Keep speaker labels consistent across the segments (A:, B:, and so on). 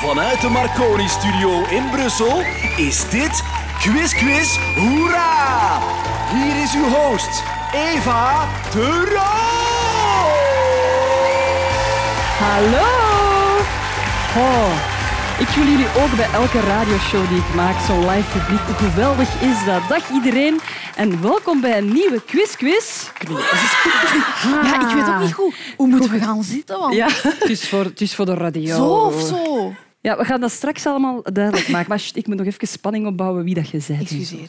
A: Vanuit de Marconi Studio in Brussel is dit Quiz Quiz Hoera! Hier is uw host, Eva de Roo!
B: Hallo! Oh, ik wil jullie ook bij elke radioshow die ik maak zo'n live publiek. Hoe geweldig is dat? Dag iedereen en welkom bij een nieuwe quiz quiz.
C: Ja, ik weet ook niet goed. Hoe moeten we gaan zitten? Want
B: Ja, het is voor, het is voor de radio.
C: Zo of zo?
B: Ja, we gaan dat straks allemaal duidelijk maken. Maar sst, ik moet nog even spanning opbouwen wie dat je bent.
C: Excuseer.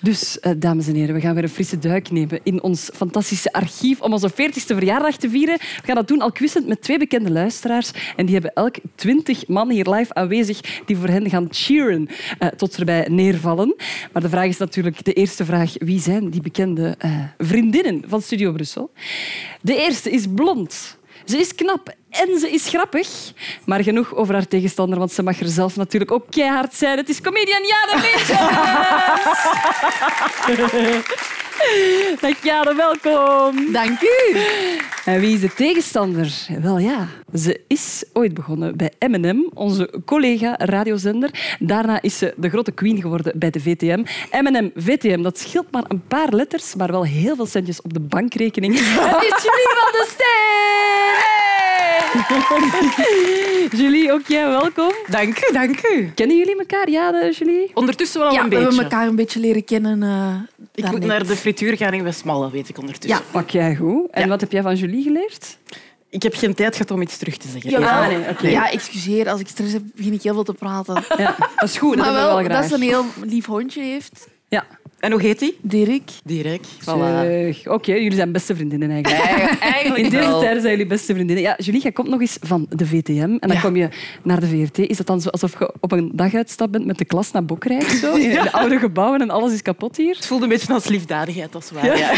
B: Dus, eh, dames en heren, we gaan weer een frisse duik nemen in ons fantastische archief om onze 40ste verjaardag te vieren. We gaan dat doen al quizend met twee bekende luisteraars. En die hebben elk 20 man hier live aanwezig die voor hen gaan cheeren eh, tot ze erbij neervallen. Maar de vraag is natuurlijk de eerste vraag. Wie zijn die bekende eh, vriendinnen van Studio Brussel? De eerste is blond. Ze is knap en ze is grappig. Maar genoeg over haar tegenstander, want ze mag er zelf natuurlijk ook keihard zijn. Het is comedian Jade Meentjes. Dag Jade, welkom.
C: Dank u.
B: En wie is de tegenstander? Wel ja, ze is ooit begonnen bij M&M, onze collega-radiozender. Daarna is ze de grote queen geworden bij de VTM. M&M, VTM, dat scheelt maar een paar letters, maar wel heel veel centjes op de bankrekening. Het is Julie van de Steen! Julie, ook jij welkom.
D: Dank u, dank u.
B: Kennen jullie elkaar? Ja, de Julie?
D: Ondertussen wel
C: Ja,
D: een
C: we
D: beetje.
C: hebben elkaar een beetje leren kennen. eh,
D: Ik moet
C: daarnet.
D: naar de frituur gaan in Westmalle, weet ik ondertussen.
B: Pak jij goed. En
D: Ja.
B: wat heb jij van Julie geleerd?
D: Ik heb geen tijd gehad om iets terug te zeggen.
C: Jawel.
B: Ah, nee, oké.
C: Ja, excuseer. Als ik stress heb, begin ik heel veel te praten.
B: Ja, dat is goed, dat
C: maar
B: hebben we wel
C: wel, dat
B: graag.
C: ze een heel lief hondje heeft.
B: Ja,
D: En hoe heet die?
C: Dirk.
D: Dirk.
B: Voilà. Oké, jullie zijn beste vriendinnen eigenlijk.
D: Eigenlijk
B: In deze tijd zijn jullie beste vriendinnen. Ja, Julie, jij komt nog eens van de VTM en dan
C: Ja.
B: kom je naar de VRT. Is dat dan zo alsof je op een daguitstap bent met de klas naar Bokrijk? of Zo? In de oude gebouwen en alles is kapot hier?
D: Het voelde een beetje als liefdadigheid, als waar. Ja.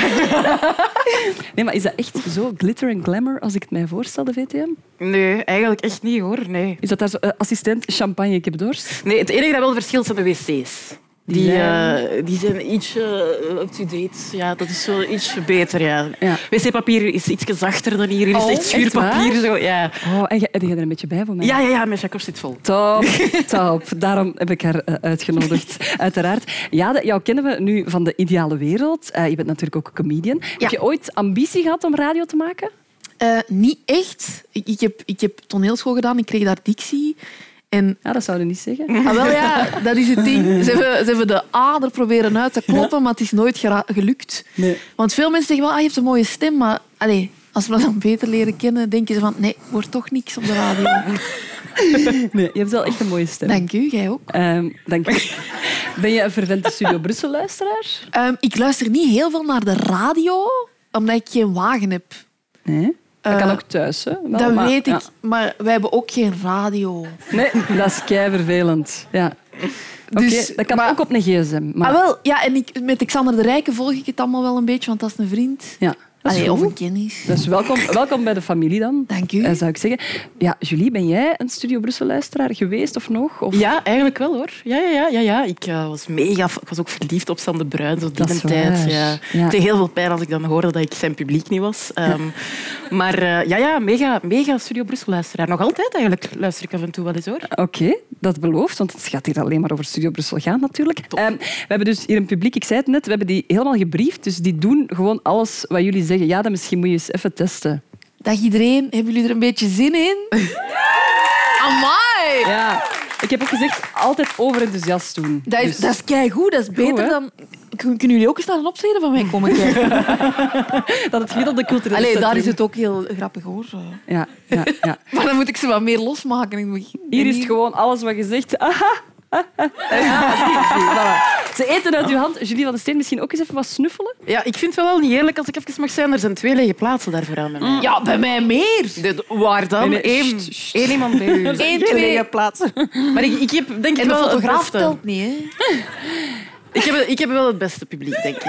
B: Nee, maar is dat echt zo glitter en glamour als ik het mij voorstel, de VTM?
D: Nee, eigenlijk echt niet hoor. Nee.
B: Is dat daar zo eh, assistent champagne, ik heb dorst?
D: nee, het enige dat wel verschilt zijn de wc's. Die,
B: Ja.
D: eh, die zijn ietsje eh, up-to-date. Ja, dat is zo ietsje beter. Ja.
B: Ja.
D: Wc-papier is iets zachter dan hier. Hier is
B: Oh,
D: echt
B: echt
D: schuurpapier.
B: waar?
D: Zo, ja.
B: Oh, en jij heb jij er een beetje bij voor mij?
D: ja, ja, ja, mijn chakras zit vol.
B: Top, top. Daarom heb ik haar eh, uitgenodigd, uiteraard. Ja, de- jou kennen we nu van de ideale wereld. Eh, je bent natuurlijk ook comedian. Heb je ooit ambitie gehad om radio te maken?
C: Eh, niet echt. Ik, ik, heb, ik heb toneelschool gedaan. Ik kreeg daar dictie. En
B: Ja, dat zou je niet zeggen.
C: ah, wel, ja, dat is het ding. Ze hebben, ze hebben de ader proberen uit te kloppen, maar het is nooit gera- gelukt.
B: Nee.
C: Want veel mensen zeggen wel, ah, je hebt een mooie stem, maar allez, als we dat dan beter leren kennen, denken ze van, nee, wordt toch niks op de radio.
B: nee. Je hebt wel echt een mooie stem.
C: Dank u, jij ook.
B: Ehm, dank je. Ben je een vervente Studio Brussel-luisteraar?
C: Ehm, ik luister niet heel veel naar de radio, omdat ik geen wagen heb.
B: Nee. Dat
C: Eh,
B: kan ook thuis, hè? Wel,
C: dat
B: maar-
C: weet ik,
B: ja.
C: maar wij hebben ook geen radio.
B: Nee, dat is kei vervelend. Ja. Oké,
C: Dus-
B: dat kan
C: maar-
B: ook op een gsm. Maar...
C: Ah, wel, ja, en ik, met Xander de Rijken volg ik het allemaal wel een beetje, want dat is een vriend.
B: Ja, dat is
C: Allee,
B: goed.
C: of een kennis.
B: Dus welkom, welkom bij de familie dan.
C: Dank u.
B: Eh, zou ik zeggen. Ja, Julie, ben jij een Studio Brussel-luisteraar geweest of nog? Of...
D: Ja, eigenlijk wel hoor. Ja, ja, ja, ja, ja. Ik eh, was mega. f- Ik was ook verliefd op Sam de Bruin, zo die
B: Dat is
D: tijd.
B: waar,
D: Ja.
B: ja.
D: Het deed heel veel pijn als ik dan hoorde dat ik zijn publiek niet was. Ehm, Maar eh, ja, ja, mega, mega Studio Brussel luisteraar. Nog altijd eigenlijk luister ik af en toe wel eens hoor.
B: Oké, dat belooft, want het gaat hier alleen maar over Studio Brussel gaan natuurlijk. Ehm, we hebben dus hier een publiek, ik zei het net, we hebben die helemaal gebriefd, dus die doen gewoon alles wat jullie zeggen. Ja, dan misschien moet je eens even testen.
C: Dag iedereen, hebben jullie er een beetje zin in? Amai!
B: Ja, ik heb ook gezegd, altijd overenthousiast doen.
C: Dat is,
B: Dus-
C: dat is keigoed, dat is beter
B: hè?
C: dan... Kun- Kunnen jullie ook eens naar een optreden van mij komen kijken?
B: dat het gemiddelde culturele
C: Allee, daar is
B: centrum-
C: het ook heel grappig hoor.
B: Ja, ja, ja.
C: Maar dan moet ik ze wat meer losmaken in het begin.
B: Hier is het gewoon alles wat je zegt. Ah, Aha. Ja, zie, zie, voilà. Ze eten uit uw hand. Julie van de Steen, misschien ook eens even wat snuffelen?
D: Ja, ik vind het wel niet eerlijk als ik even mag zijn. Er zijn twee lege plaatsen daarvoor aan bij mij.
C: Ja, bij mij meer.
D: Dit- Mm. waar dan?
B: Nee, nee,
D: Eén-
B: sst, sst.
D: één iemand bij u.
C: Eén,
D: Geen
C: twee.
D: lege plaatsen. Maar ik, ik heb denk ik
C: En de
D: wel het
C: fotograaf
D: beste.
C: telt niet, hè?
D: Ik heb, ik heb wel het beste publiek, denk ik.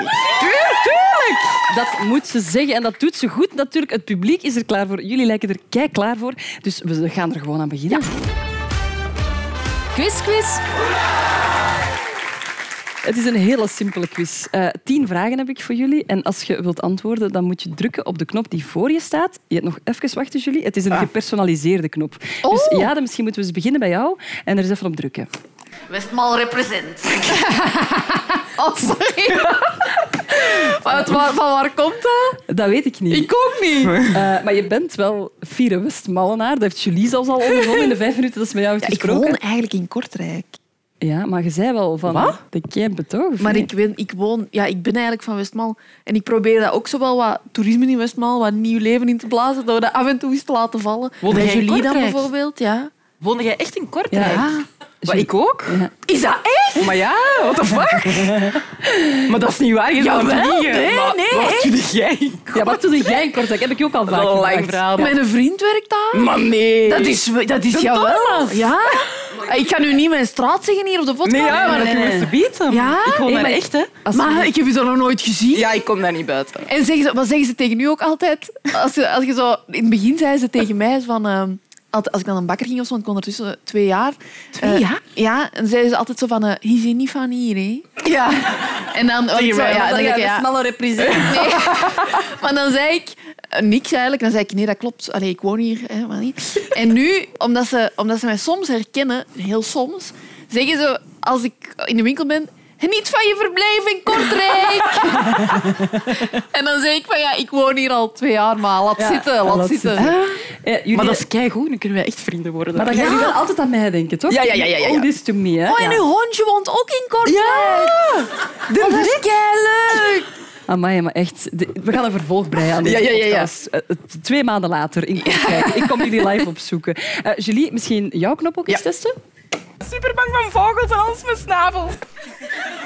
B: Dat moet ze zeggen en dat doet ze goed. Natuurlijk, het publiek is er klaar voor. Jullie lijken er kei klaar voor. Dus we gaan er gewoon aan beginnen.
E: Quiz, quiz.
B: Het is een hele simpele quiz. Eh, tien vragen heb ik voor jullie. En als je wilt antwoorden, dan moet je drukken op de knop die voor je staat. Je hebt nog even wachten, Julie. Het is een gepersonaliseerde knop. Dus ja, dan misschien moeten we eens beginnen bij jou en er eens even op drukken.
E: Westmal represent.
C: Oh, sorry. Maar het wa- van waar komt dat?
B: Dat weet ik niet.
C: Ik ook niet.
B: Eh, maar je bent wel fiere Westmallenaar. Dat heeft Julie zelfs al ondervonden in de vijf minuten dat ze met jou heeft
C: ik
B: gesproken.
C: woon eigenlijk in Kortrijk.
B: Ja, maar je zei wel van...
D: Wat?
B: De camp toch?
C: Maar ik, weet, ik woon... Ja, ik ben eigenlijk van Westmal. En ik probeer dat ook zo wel wat toerisme in Westmal, wat nieuw leven in te blazen, dat we dat af en toe eens te laten vallen.
D: Woon
C: Bij
D: jij in
C: Julie dan
D: Kortrijk?
C: bijvoorbeeld, ja.
D: Woonde jij echt in Kortrijk?
B: Ja.
D: Wat, ik ook?
C: Is dat echt?
D: Maar ja, what the fuck? maar dat is niet waar. Je
C: Jawel,
D: zou liegen.
C: nee,
D: Maar
C: nee.
D: Wat doe jij?
B: Ja, wat doe jij in Kortrijk? Heb ik je ook al vaak
D: Wel een lang
B: gevraagd.
D: verhaal. Maar,
C: Mijn vriend werkt daar.
D: maar nee.
C: Dat is, dat is
D: De
C: jawel.
D: Thomas.
C: Ja. Ik ga nu niet mijn straat zeggen hier op de podcast.
D: Nee, ja, maar
C: maar,
D: dat doen we te bieden.
C: Ja?
D: Ik woon
C: Nee,
D: daar
C: maar-
D: echt, hè.
C: maar ik heb je dat nog nooit gezien.
D: Ja, ik kom daar niet buiten.
C: En zeggen ze, wat zeggen ze tegen u ook altijd? Als je, als je zo, in het begin zei ze tegen mij zo van... ehm, altijd- als ik aan een bakker ging of zo, want ik kon ondertussen twee jaar.
D: Twee
C: eh,
D: jaar?
C: ja, en zeiden ze altijd zo van, eh, je bent niet van hier, hè?
D: Ja.
C: En dan, want ik zo,
D: mij,
C: ja, dan
B: Dan
C: denk
B: ga
C: ik,
B: je
C: ja,
B: Westmalle represent.
C: nee. Maar dan zei ik eh, niks eigenlijk. Dan zei ik, nee, dat klopt. Allee, ik woon hier, hè, maar niet. En nu, omdat ze, omdat ze mij soms herkennen, heel soms, zeggen ze, als ik in de winkel ben... Geniet van je verblijf in Kortrijk. en dan zeg ik van ja, ik woon hier al twee jaar, maar laat
B: Ja,
C: zitten, laat,
B: laat
C: zitten.
B: zitten. Eh, jullie-
D: Maar dat is keigoed. Dan kunnen wij echt vrienden worden.
B: Maar dan gaan jullie wel altijd aan mij denken, toch?
D: Ja, ja, ja, ja, ja.
B: All this to me, hè?
C: Oh, en uw hondje woont ook in Kortrijk.
D: Ah! Ja.
C: Dat is leuk.
B: Amai, maar echt. de- we gaan een vervolg breien aan deze
D: Ja, ja, ja, ja.
B: podcast. Eh, eh, twee maanden later in Kortrijk. Ik kom jullie live opzoeken. Eh, Julie, misschien jouw knop ook eens
D: Ja.
B: testen?
D: Super bang van vogels en alles met snavel.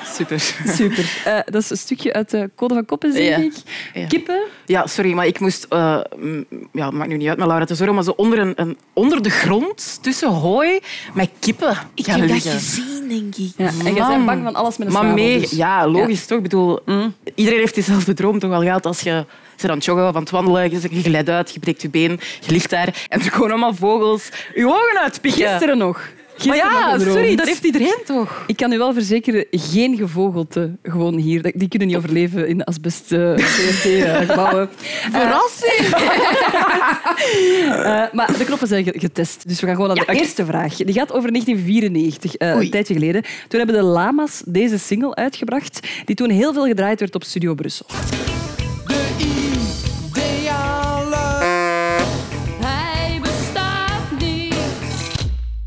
D: Super.
B: Super. Eh, dat is een stukje uit de Code van Koppen, denk
D: Ja.
B: ik.
D: Ja.
B: Kippen.
D: Ja, sorry, maar ik moest... eh, mm, ja, maakt nu niet uit, maar Laura Tesoro, maar zo onder, een, een, onder de grond, tussen hooi, met kippen
C: Ik
D: gaan
C: heb dat
D: liggen.
C: gezien, denk ik.
B: Ja. En jij bent
D: Man.
B: bang van alles met een
D: Maar
B: snavel,
D: mee,
B: dus.
D: ja, logisch toch? Ik bedoel, hm, iedereen heeft diezelfde droom toch al gehad als je ze aan het joggen of aan het wandelen, je, je glijdt uit, je breekt je been, je ligt daar en er gewoon allemaal vogels je ogen uitpikken.
B: Gisteren nog.
D: Maar
B: Gisteren nog
D: ja,
B: gedroomd.
D: sorry, dat heeft iedereen toch?
B: Ik kan u wel verzekeren, geen gevogelte gewoon hier. Dat- Die kunnen niet overleven in de asbest eh, TNT, eh, gebouwen
C: Verrassing.
B: Eh, maar de knoppen zijn ge- getest. Dus we gaan gewoon naar de eerste vraag. Die gaat over 1994, eh, een tijdje geleden. Toen hebben de Lama's deze single uitgebracht, die toen heel veel gedraaid werd op Studio Brussel.
E: Hij bestaat niet.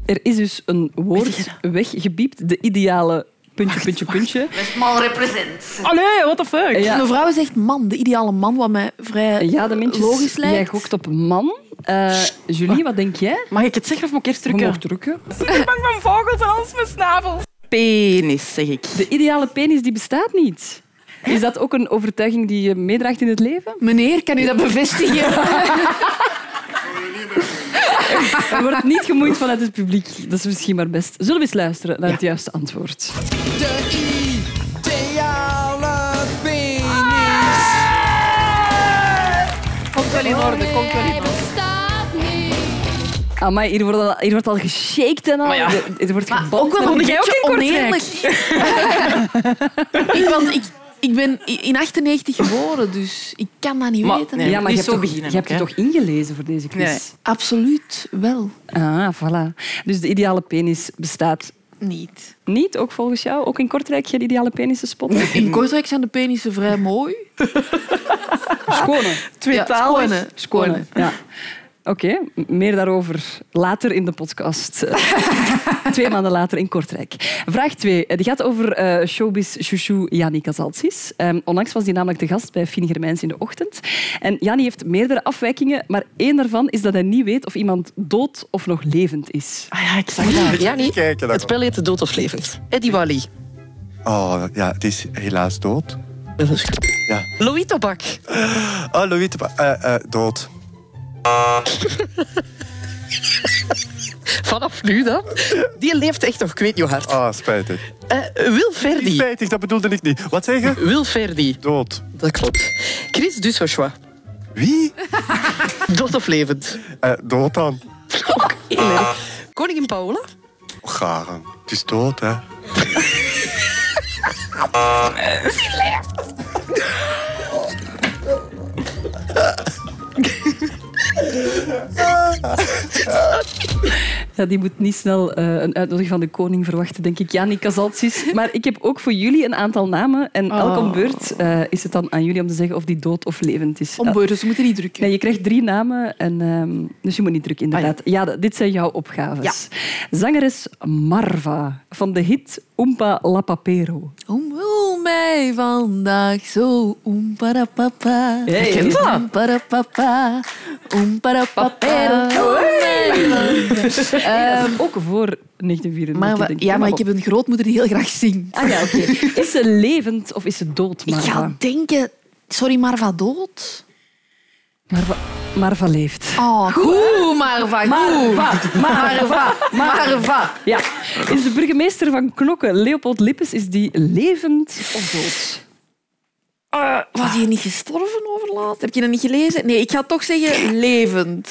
B: Er is dus een woord weggepiept, de ideale puntje, puntje, puntje. Eh,
E: Westmal represent.
D: Allee, Ah, what the fuck?
B: Ja.
C: Een vrouw zegt man, de ideale man, wat mij vrij
B: Ja, de mensen.
C: logisch lijkt.
B: Jij gokt op man. Eh, Julie, wat denk jij?
D: Mag ik het zeggen of moet ik eerst
B: Je
D: drukken?
B: mag drukken.
D: bang van vogels en alles met snavel. Penis, zeg ik.
B: De ideale penis die bestaat niet. Is dat ook een overtuiging die je meedraagt in het leven?
C: Meneer, kan u dat bevestigen?
B: Er wordt niet gemoeid vanuit het publiek. Dat is misschien maar best. Zullen we eens luisteren naar het juiste antwoord?
C: Komt wel in orde, komt wel in orde.
E: Bestaat niet.
B: Amai, hier wordt al, hier wordt al geshaked en al.
D: Maar ja.
B: Er- Er wordt gebald.
C: Ook wel
B: en-
C: een
D: jij ook
C: beetje
D: in Kortrijk?
C: oneerlijk. ik, want ik, ik ben i- in 98 geboren, dus ik kan dat niet
D: Maar-
C: weten.
D: nee.
B: Ja, maar
D: Niet
B: je hebt,
D: zo
B: toch,
D: beginnen
B: je hebt je
D: ook,
B: toch ingelezen voor deze
C: dus.
B: quiz?
C: Absoluut wel
B: Ah, voilà. Dus de ideale penis bestaat
C: niet.
B: niet, ook volgens jou? Ook in Kortrijk geen ideale penissen spotten?
C: In Kortrijk zijn de penissen vrij mooi.
B: Schone.
D: Twee talen.
C: Schone.
B: Schone.
C: schone.
B: Ja. Oké, m- meer daarover later in de podcast. Eh, twee maanden later in Kortrijk. Vraag twee. eh, Die gaat over eh showbiz chouchou Jani Casalsis. Ehm, onlangs was die namelijk de gast bij Fien Germijns in de ochtend. En Jani heeft meerdere afwijkingen, maar één daarvan is dat hij niet weet of iemand dood of nog levend is.
D: Ah ja, ik zag dat.
F: Ja, niet.
G: Kijken dan.
F: Het spel heet Dood of Levend. Eddie Wally.
G: Oh, ja, het is helaas dood. Ja.
F: Louis Tobak.
G: Oh, Louis, de Ba- eh, eh, dood.
F: Vanaf nu dan. Die leeft echt nog, ik weet niet hoe hard.
G: Ah, spijtig.
F: Eh, Wil
G: Niet
F: Verdi.
G: spijtig, dat bedoelde ik niet. Wat zeg je?
F: Wil Verdi.
G: Dood.
F: Dat klopt. Chris Dussochois.
G: Wie?
F: Dood of Levend.
G: Eh, dood dan.
F: Ook heel erg. Koningin Paola.
G: Och, Garen. Het is dood, hè.
B: Ja, die moet niet snel eh, een uitnodiging van de koning verwachten, denk ik. Ja, niet Casaltjes. Maar ik heb ook voor jullie een aantal namen. En elk om beurt eh, is het dan aan jullie om te zeggen of die dood of levend is.
C: Om beurten, ze moeten niet drukken.
B: Nee, je krijgt drie namen, en, ehm, dus je moet niet
C: Ah,
B: druk, inderdaad. ja. d- dit zijn jouw opgaves. Zangeres Marva van de hit Oompa La Papero.
C: Omhul mij vandaag zo, oemparapapa.
B: Hey.
C: Ken je dat? Oemparapapa, oemparapapero.
B: Ehm, ook voor 1994.
C: Maar, wa-
B: denk
C: ja, maar ik
B: op.
C: heb een grootmoeder die heel graag zingt.
B: Ah ja, oké. Is ze levend of is ze dood,
C: Ik
B: Marva?
C: ga denken... Sorry, Marva dood?
B: Marva, Marva leeft.
C: Oh, goed, Marva, goed.
B: Marva, Marva,
C: Marva.
B: Ja. Is de burgemeester van Knokke, Leopold Lippes, is die levend of dood?
C: Eh, Was hij niet gestorven overlaat? Heb je dat niet gelezen? Nee, ik ga toch zeggen levend.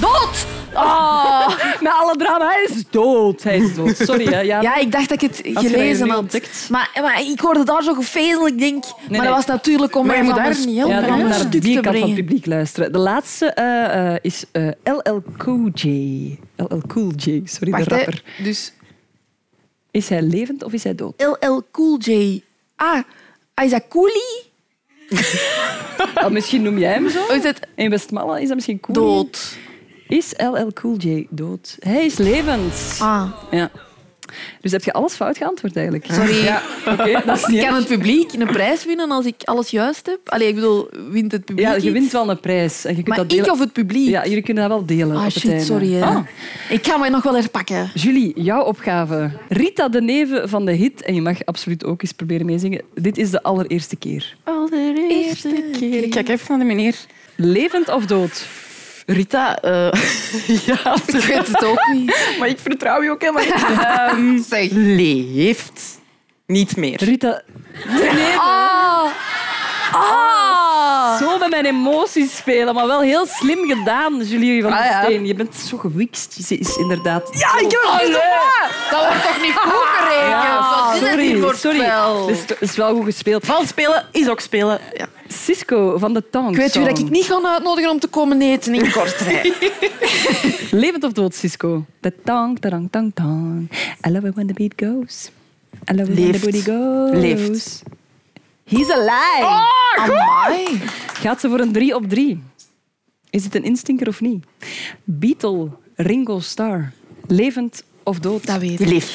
C: Dood! Oh.
B: Met alle drama, hij is dood. Hij is dood. Sorry, hè. Ja,
C: Ja, ik dacht dat ik het
B: Ah. je dat
C: gelezen
B: nu
C: had.
B: ontdekt?
C: Maar, maar ik hoorde daar zo gefezeld. Ik denk, maar
B: nee.
C: dat was natuurlijk om
D: Maar je
C: mij
D: moet
C: van
D: daar
C: mijn-
D: niet
C: ja,
B: Ja,
C: van
B: dan
C: mijn
B: naar
C: stuk
B: die
C: te
B: kant van het
C: brengen.
B: publiek luisteren. De laatste eh, eh, is eh, LL Cool J. LL Cool J, sorry,
C: Wacht,
B: de
C: hè.
B: rapper.
C: Dus
B: Is hij levend of is hij dood?
C: LL Cool J. Ah, Isaac Cooley.
B: Ah, misschien noem jij hem zo.
C: Oh, Is het
B: In Westmalle is hij misschien cool.
C: dood?
B: Is LL Cool J dood? Hij is levend.
C: Ah,
B: Ja. Dus heb je alles fout geantwoord eigenlijk?
C: sorry.
B: Oké, dat is niet
C: Kan
B: erg.
C: het publiek een prijs winnen als ik alles juist heb? Allee, ik bedoel, wint het publiek
B: Ja, je
C: iets?
B: wint wel een prijs. En je kunt
C: Maar
B: dat
C: ik
B: delen.
C: of het publiek?
B: Ja, jullie kunnen dat wel delen
C: Ah,
B: op het
C: shit,
B: einde.
C: sorry. hè.
B: Ah.
C: Ik ga mij nog wel herpakken.
B: Julie, jouw opgave. Rita de Neve van de hit. En je mag absoluut ook eens proberen meezingen. Dit is de allereerste keer.
D: Allereerste keer. Ik kijk even naar de meneer.
B: Levend of dood?
D: Rita, eh, ja,
C: Ik weet het ook niet.
D: maar ik vertrouw je ook helemaal niet. Ehm, Leeft niet meer.
B: Rita,
C: Ah. Ah.
B: zo met mijn emoties spelen, maar wel heel slim gedaan, Julie van
D: Ah,
B: der
D: ja.
B: Steen. Je bent zo gewikst. Ze is inderdaad... Ja,
D: ik heb het
C: Dat wordt toch niet goed gerekend? Wat is
B: Ah.
C: dit hier
B: sorry,
C: voor
B: sorry. Dus
C: spel?
B: Het is, het is wel goed gespeeld.
D: Vals spelen is ook spelen. Ja.
B: Cisco van de Tank.
C: Ik weet u dat ik niet ga uitnodigen om te komen eten in Kortrijk.
B: Levend of dood, Cisco? De tang, tang, tang, tang. I love it when the beat goes. I love it when the
D: Leeft.
B: booty goes.
D: Leeft.
B: He's alive.
C: Amai.
B: Gaat ze voor een drie op drie? Is het een instinker of niet? Beatle, Ringo Starr. Levend of dood?
C: Dat weet
D: Die
C: ik.
D: leeft.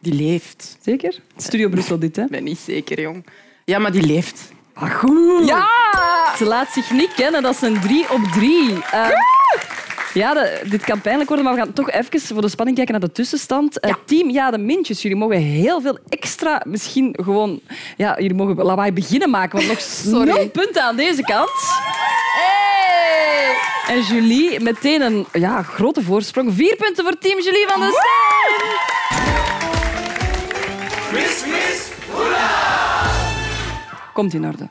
D: Die leeft.
B: Zeker? Studio Brussel dit, hè?
D: Ik ben niet zeker, jong. Ja, maar die leeft.
B: Ah, goed. Ja! Ze laat zich niet kennen. Dat is een drie op drie. Eh, ja, de- dit kan pijnlijk worden, maar we gaan toch even voor de spanning kijken naar de tussenstand. Eh, team Ja de Mintjes, jullie mogen heel veel extra... Misschien gewoon... Ja, jullie mogen lawaai beginnen maken, want nog
C: Sorry.
B: nul punten aan deze kant. En Julie, meteen een ja, grote voorsprong. Vier punten voor team Julie van de Steen. Komt in orde.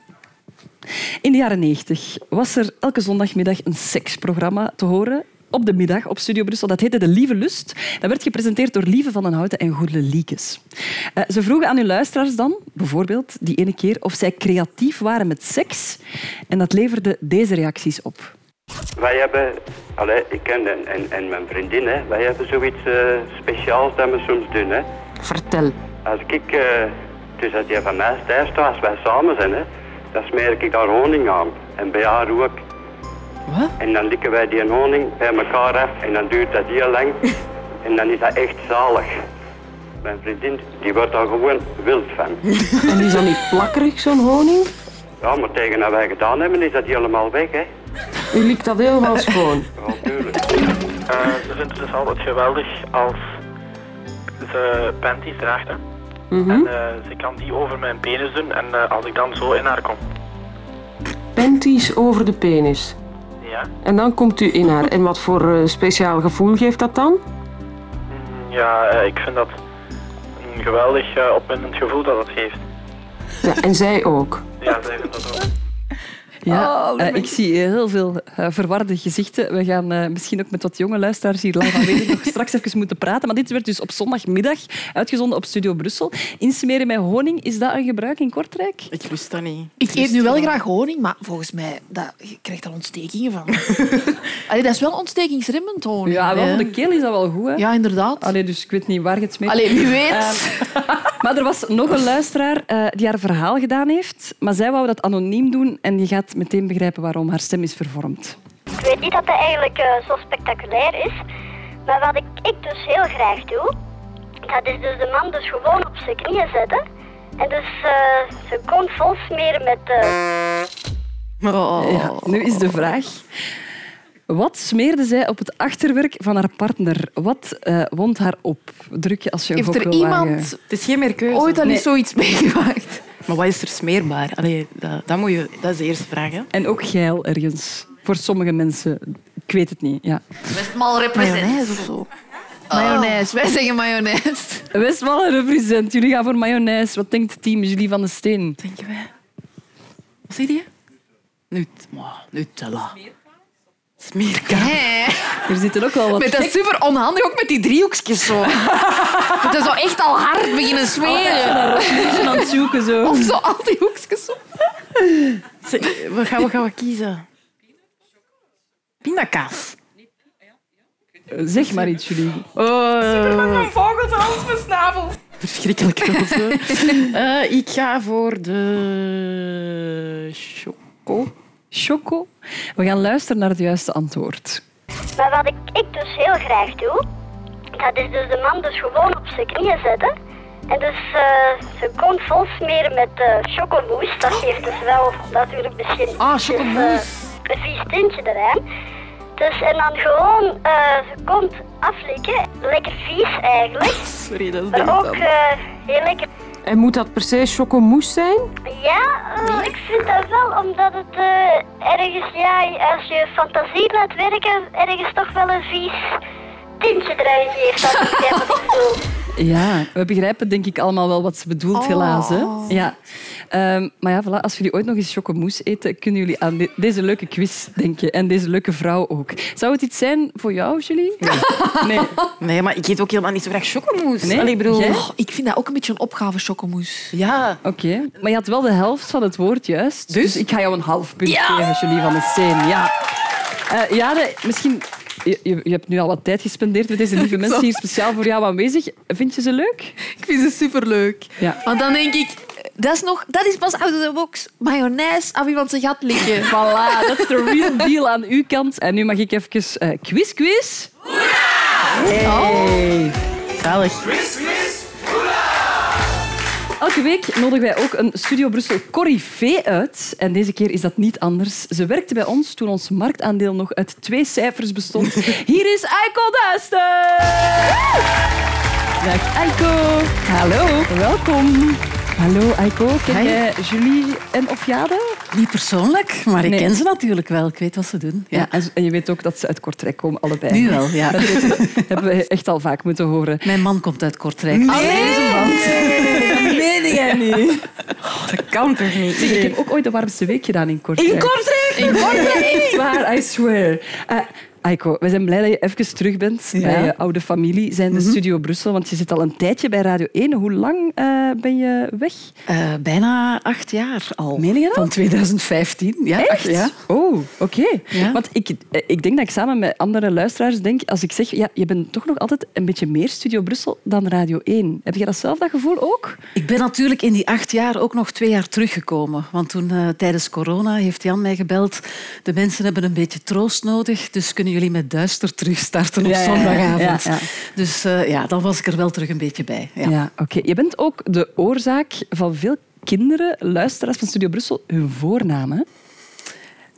B: In de jaren 90 was er elke zondagmiddag een seksprogramma te horen op de middag op Studio Brussel. Dat heette De Lieve Lust. Dat werd gepresenteerd door Lieve van den Houten en Goedele Liekes. Eh, ze vroegen aan hun luisteraars dan, bijvoorbeeld die ene keer, of zij creatief waren met seks. En dat leverde deze reacties op.
H: Wij hebben, allee, ik en, en, en, en mijn vriendin, hè, wij hebben zoiets eh, speciaals dat we soms doen. Hè. Vertel. Als ik, eh, dus als jij van mij stijft, als wij samen zijn, hè, dan smeer ik daar honing aan. En bij haar ook.
D: Wat?
H: En dan likken wij die honing bij elkaar af en dan duurt dat heel lang. en dan is dat echt zalig. Mijn vriendin, die wordt daar gewoon wild van.
I: Is dat niet plakkerig, zo'n honing?
H: Ja, maar tegen dat wij gedaan hebben, is dat helemaal weg, hè.
I: U likt dat helemaal schoon.
H: Ja, tuurlijk.
J: Ze vindt het dus altijd geweldig als ze panties draagt. Hè.
I: Mhm.
J: En eh, ze kan die over mijn penis doen en eh, als ik dan zo in haar kom.
I: Panties over de penis.
J: Ja,
I: En dan komt u in haar. En wat voor eh, speciaal gevoel geeft dat dan?
J: Mm, ja eh, ik vind dat een geweldig eh, opwindend gevoel dat het geeft.
I: Ja, en zij ook.
J: Ja, zij vindt dat ook.
B: Ja, eh, ik zie heel veel eh, verwarde gezichten. We gaan eh, misschien ook met wat jonge luisteraars hier live aanwezig nog straks even moeten praten. Maar dit werd dus op zondagmiddag uitgezonden op Studio Brussel. Insmeren met honing, is dat een gebruik in Kortrijk?
D: Ik wist dat niet.
C: Ik eet nu wel graag honing, maar volgens mij dat, je krijgt daar ontstekingen van. Allee, dat is wel ontstekingsremmend honing.
B: Ja, wel
C: hè.
B: voor de keel is dat wel goed. Hè?
C: Ja, inderdaad.
B: Allee, dus ik weet niet waar je het mee
C: Allee, wie weet.
B: Ehm, maar er was nog een luisteraar eh, die haar verhaal gedaan heeft. Maar zij wou dat anoniem doen. En je gaat meteen begrijpen waarom haar stem is vervormd.
K: Ik weet niet dat dat eigenlijk eh, zo spectaculair is. Maar wat ik, ik dus heel graag doe, dat is dus de man dus gewoon op zijn knieën zetten. En dus eh, zijn kont vol smeren met... eh,
D: oh,
B: Ja,
C: Oh.
B: nu is de vraag. Wat smeerde zij op het achterwerk van haar partner? Wat eh, wond haar op? Druk je als je een
D: Heeft
B: gok
D: er
B: wil
D: iemand
B: wagen.
D: Het is geen meer keuze.
B: Ooit al eens
D: zoiets meegemaakt. Maar wat is er smeerbaar? Allee, dat, dat, moet je, dat is de eerste vraag. Hè.
B: En ook geil ergens. Voor sommige mensen. Ik weet het niet. Ja.
C: Westmal represent. Mayonaise of zo. Mayonaise.
B: Oh.
C: Wij zeggen mayonaise.
B: Westmalle represent. Jullie gaan voor mayonaise. Wat denkt het team Julie van de Steen?
D: Denken wij. Wat zie je? Nut, maar, Nutella. Smeerkaas.
B: Er zitten ook wel wat...
C: Met dat is super onhandig, ook met die driehoekjes zo. Het is zo echt al hard beginnen smeren.
B: Altijd zo'n rotneusje aan het zoeken, zo.
C: Of zo al die hoekjes op.
D: We gaan, we gaan wat kiezen. Pindakaas.
B: Zeg maar iets, Julie.
D: Oh,
L: vogels alles besnaveld.
D: verschrikkelijk. Eh, ik ga voor de... Choco.
B: Choco? We gaan luisteren naar het juiste antwoord.
K: Maar wat ik, ik dus heel graag doe, dat is dus de man dus gewoon op zijn knieën zetten. En dus eh, zijn kont vol smeren met eh chocomousse. Dat geeft dus wel natuurlijk misschien
D: Ah,
K: dus, eh,
D: chocomousse.
K: een vies tintje eraan. Dus, en dan gewoon eh zijn kont aflikken. Lekker vies eigenlijk.
D: Sorry, dat is
K: Maar ook eh, heel lekker.
I: En moet dat per se chocomousse zijn?
K: Ja, eh, ik vind dat wel, omdat het eh, ergens, ja, als je fantasie laat werken, ergens toch wel een vies tintje eruit geeft. Dat is wat ik bedoel.
B: Ja, we begrijpen denk ik allemaal wel wat ze bedoelt, helaas. Hè? Ja. Ehm, maar ja, voilà, als jullie ooit nog eens chocomousse eten, kunnen jullie aan de- deze leuke quiz denken. En deze leuke vrouw ook. Zou het iets zijn voor jou, Julie? Nee.
D: Nee, maar ik eet ook helemaal niet zo graag chocomousse.
B: Nee?
D: Allee, ik bedoel...
B: Jij?
D: Oh,
C: ik vind dat ook een beetje een opgave, chocomousse.
D: Ja.
B: Oké. Maar je had wel de helft van het woord juist. Dus, ik ga jou een half punt
D: Ja!
B: geven, Julie van de Steen. Ja. Eh, Jade, misschien... Je, je je hebt nu al wat tijd gespendeerd met deze lieve mensen hier speciaal voor jou aanwezig. Vind je ze leuk?
C: Ik vind ze superleuk.
B: Ja.
C: Want dan denk ik, dat is, nog, dat is pas out of the box. Mayonaise ah, af iemand zijn gat likken.
B: Voilà, dat is de real deal aan uw kant. En nu mag ik even eh, quiz, quiz. Hey. Elke week nodigen wij ook een Studio Brussel corrivee uit. En deze keer is dat niet anders. Ze werkte bij ons toen ons marktaandeel nog uit twee cijfers bestond. Hier is Eiko Duister! Dag Eiko. Hallo. Welkom. Hallo Eiko. Ken
M: Hi.
B: jij Julie en of Jade?
M: Niet persoonlijk, maar ik
B: Nee.
M: ken ze natuurlijk wel. Ik weet wat ze doen.
B: Ja.
M: Ja.
B: en z- en je weet ook dat ze uit Kortrijk komen, allebei.
M: Nu wel, ja.
B: Dat weten we- hebben we echt al vaak moeten horen.
M: Mijn man komt uit Kortrijk.
D: Mm.
B: Nee,
M: Allee, er is een band.
B: nee, nee, nee, jij niet.
D: Oh, dat kan toch niet?
B: Zeg, ik heb ook ooit de warmste week gedaan in Kortrijk.
D: In Kortrijk?
B: In Kortrijk! Echt waar, I swear. Eh, Aiko, we zijn blij dat je even terug bent
M: Ja.
B: bij je oude familie, zijn de
D: Mhm.
B: Studio Brussel, want je zit al een tijdje bij Radio 1. Hoe lang eh, ben je weg?
M: Eh, bijna acht jaar al. Van 2015. Ja,
B: Echt?
M: acht, ja.
B: Oh, oké. Want ik, eh, ik denk dat ik samen met andere luisteraars denk, als ik zeg, ja, je bent toch nog altijd een beetje meer Studio Brussel dan Radio 1. Heb je dat zelf, dat gevoel ook?
M: Ik ben natuurlijk in die acht jaar ook nog twee jaar teruggekomen. Want toen eh, tijdens corona heeft Jan mij gebeld. De mensen hebben een beetje troost nodig, dus kunnen jullie met duister terugstarten op
B: Ja, ja, ja.
M: zondagavond.
B: Ja, ja.
M: Dus eh, ja, dan was ik er wel terug een beetje bij. Ja.
B: oké. Je bent ook de oorzaak van veel kinderen, luisteraars van Studio Brussel, hun voornamen.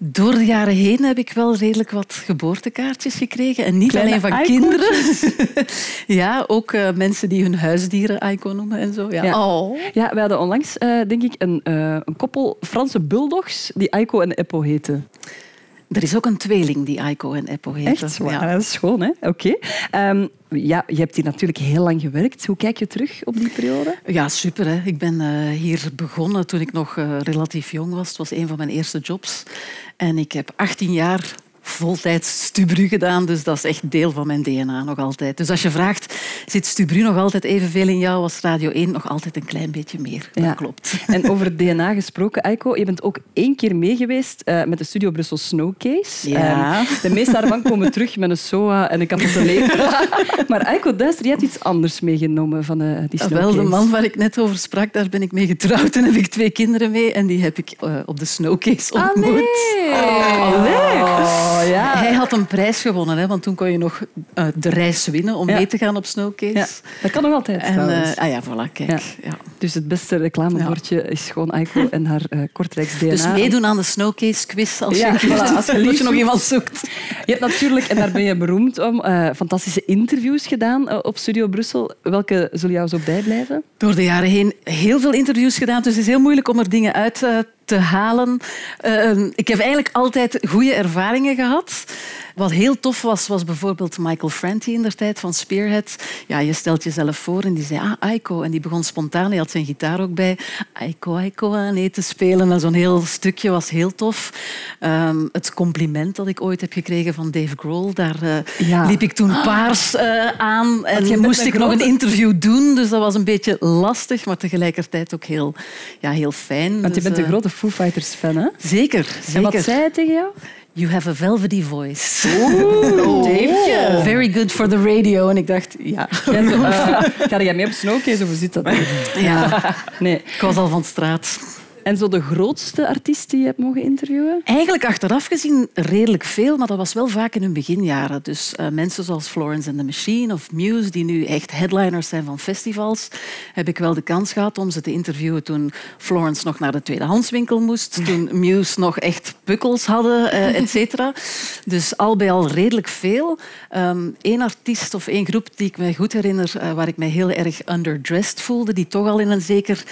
M: Door de jaren heen heb ik wel redelijk wat geboortekaartjes gekregen. En niet
B: Kleine
M: alleen van
B: icoontjes.
M: kinderen. ja, ook eh, mensen die hun huisdieren icon noemen en zo. Ja. Oh.
B: ja, we hadden onlangs, eh, denk ik, een, eh, een koppel Franse bulldogs die Aiko en Eppo heten.
C: Er is ook een tweeling die Aiko en Eppo heet.
B: Echt? Wauw, Dat is schoon, hè? Oké. Ehm, ja, je hebt hier natuurlijk heel lang gewerkt. Hoe kijk je terug op die periode?
C: Ja, super. Hè. Ik ben eh, hier begonnen toen ik nog eh, relatief jong was. Het was een van mijn eerste jobs. En ik heb 18 jaar voltijds Stubru gedaan, dus dat is echt deel van mijn DNA nog altijd. Dus als je vraagt, zit Stubru nog altijd evenveel in jou als Radio 1? Nog altijd een klein beetje meer. Dat klopt.
B: En over het DNA gesproken, Aiko, je bent ook één keer mee geweest eh, met de Studio Brussel Snowcase.
C: Ja.
B: Ehm, de meeste daarvan komen terug met een SOA en een kapotte lever. maar Aiko Duister, jij hebt iets anders meegenomen van eh, die
C: Ah,
B: Snowcase.
C: Wel, de man waar ik net over sprak, daar ben ik mee getrouwd en heb ik twee kinderen mee. En die heb ik eh, op de Snowcase
B: Ah,
C: ontmoet.
B: nee.
C: Allee.
B: Oh, ja.
C: Hij had een prijs gewonnen, hè, want toen kon je nog eh, de reis winnen om
B: Ja.
C: mee te gaan op Snowcase.
B: Ja, dat kan nog altijd.
C: En,
B: trouwens.
C: eh, ah ja, voilà, kijk. Ja.
B: Dus het beste reclamebordje is gewoon Aiko en haar eh Kortrijks DNA.
C: Dus meedoen aan de Snowcase-quiz als,
B: Ja,
C: je,
B: voilà, als je lief
C: nog
B: zoekt.
C: iemand zoekt.
B: Je hebt natuurlijk, en daar ben je beroemd om, eh, fantastische interviews gedaan eh, op Studio Brussel. Welke zullen jou zo bijblijven?
C: Door de jaren heen heel veel interviews gedaan, dus het is heel moeilijk om er dingen uit eh, te halen. Eh, ik heb eigenlijk altijd goede ervaringen gehad. Wat heel tof was, was bijvoorbeeld Michael Franti in der tijd van Spearhead. Ja, je stelt jezelf voor en die zei, ah, Aiko. En die begon spontaan, hij had zijn gitaar ook bij, Aiko, Aiko aan nee te spelen. En zo'n heel stukje was heel tof. Ehm, het compliment dat ik ooit heb gekregen van Dave Grohl, daar eh,
B: Ja.
C: liep ik toen paars eh, aan.
B: Had jij
C: En
B: met
C: moest
B: een
C: ik nog een
B: grote-
C: interview doen, dus dat was een beetje lastig, maar tegelijkertijd ook heel, ja, heel fijn.
B: Want je
C: Dus,
B: bent een
C: eh,
B: grote Foo Fighters fan, hè?
C: Zeker,
B: En
C: zeker.
B: wat zei hij tegen jou?
C: You have a velvety voice.
B: Oeh,
C: Daveje. Very good for the radio. En ik dacht, ja.
B: Ja, zo, eh, ga jij mee op Snowcase of hoe zit dat?
C: Ja.
B: Nee.
C: Ik was al van straat.
B: En zo de grootste artiest die je hebt mogen interviewen?
C: Eigenlijk achteraf gezien redelijk veel, maar dat was wel vaak in hun beginjaren. Dus eh, mensen zoals Florence and the Machine of Muse, die nu echt headliners zijn van festivals, heb ik wel de kans gehad om ze te interviewen toen Florence nog naar de tweedehandswinkel moest, toen Muse nog echt pukkels hadden, eh et cetera. Dus al bij al redelijk veel. Eén artiest of Ehm, één groep die ik me goed herinner, eh, waar ik me heel erg underdressed voelde, die toch al in een zeker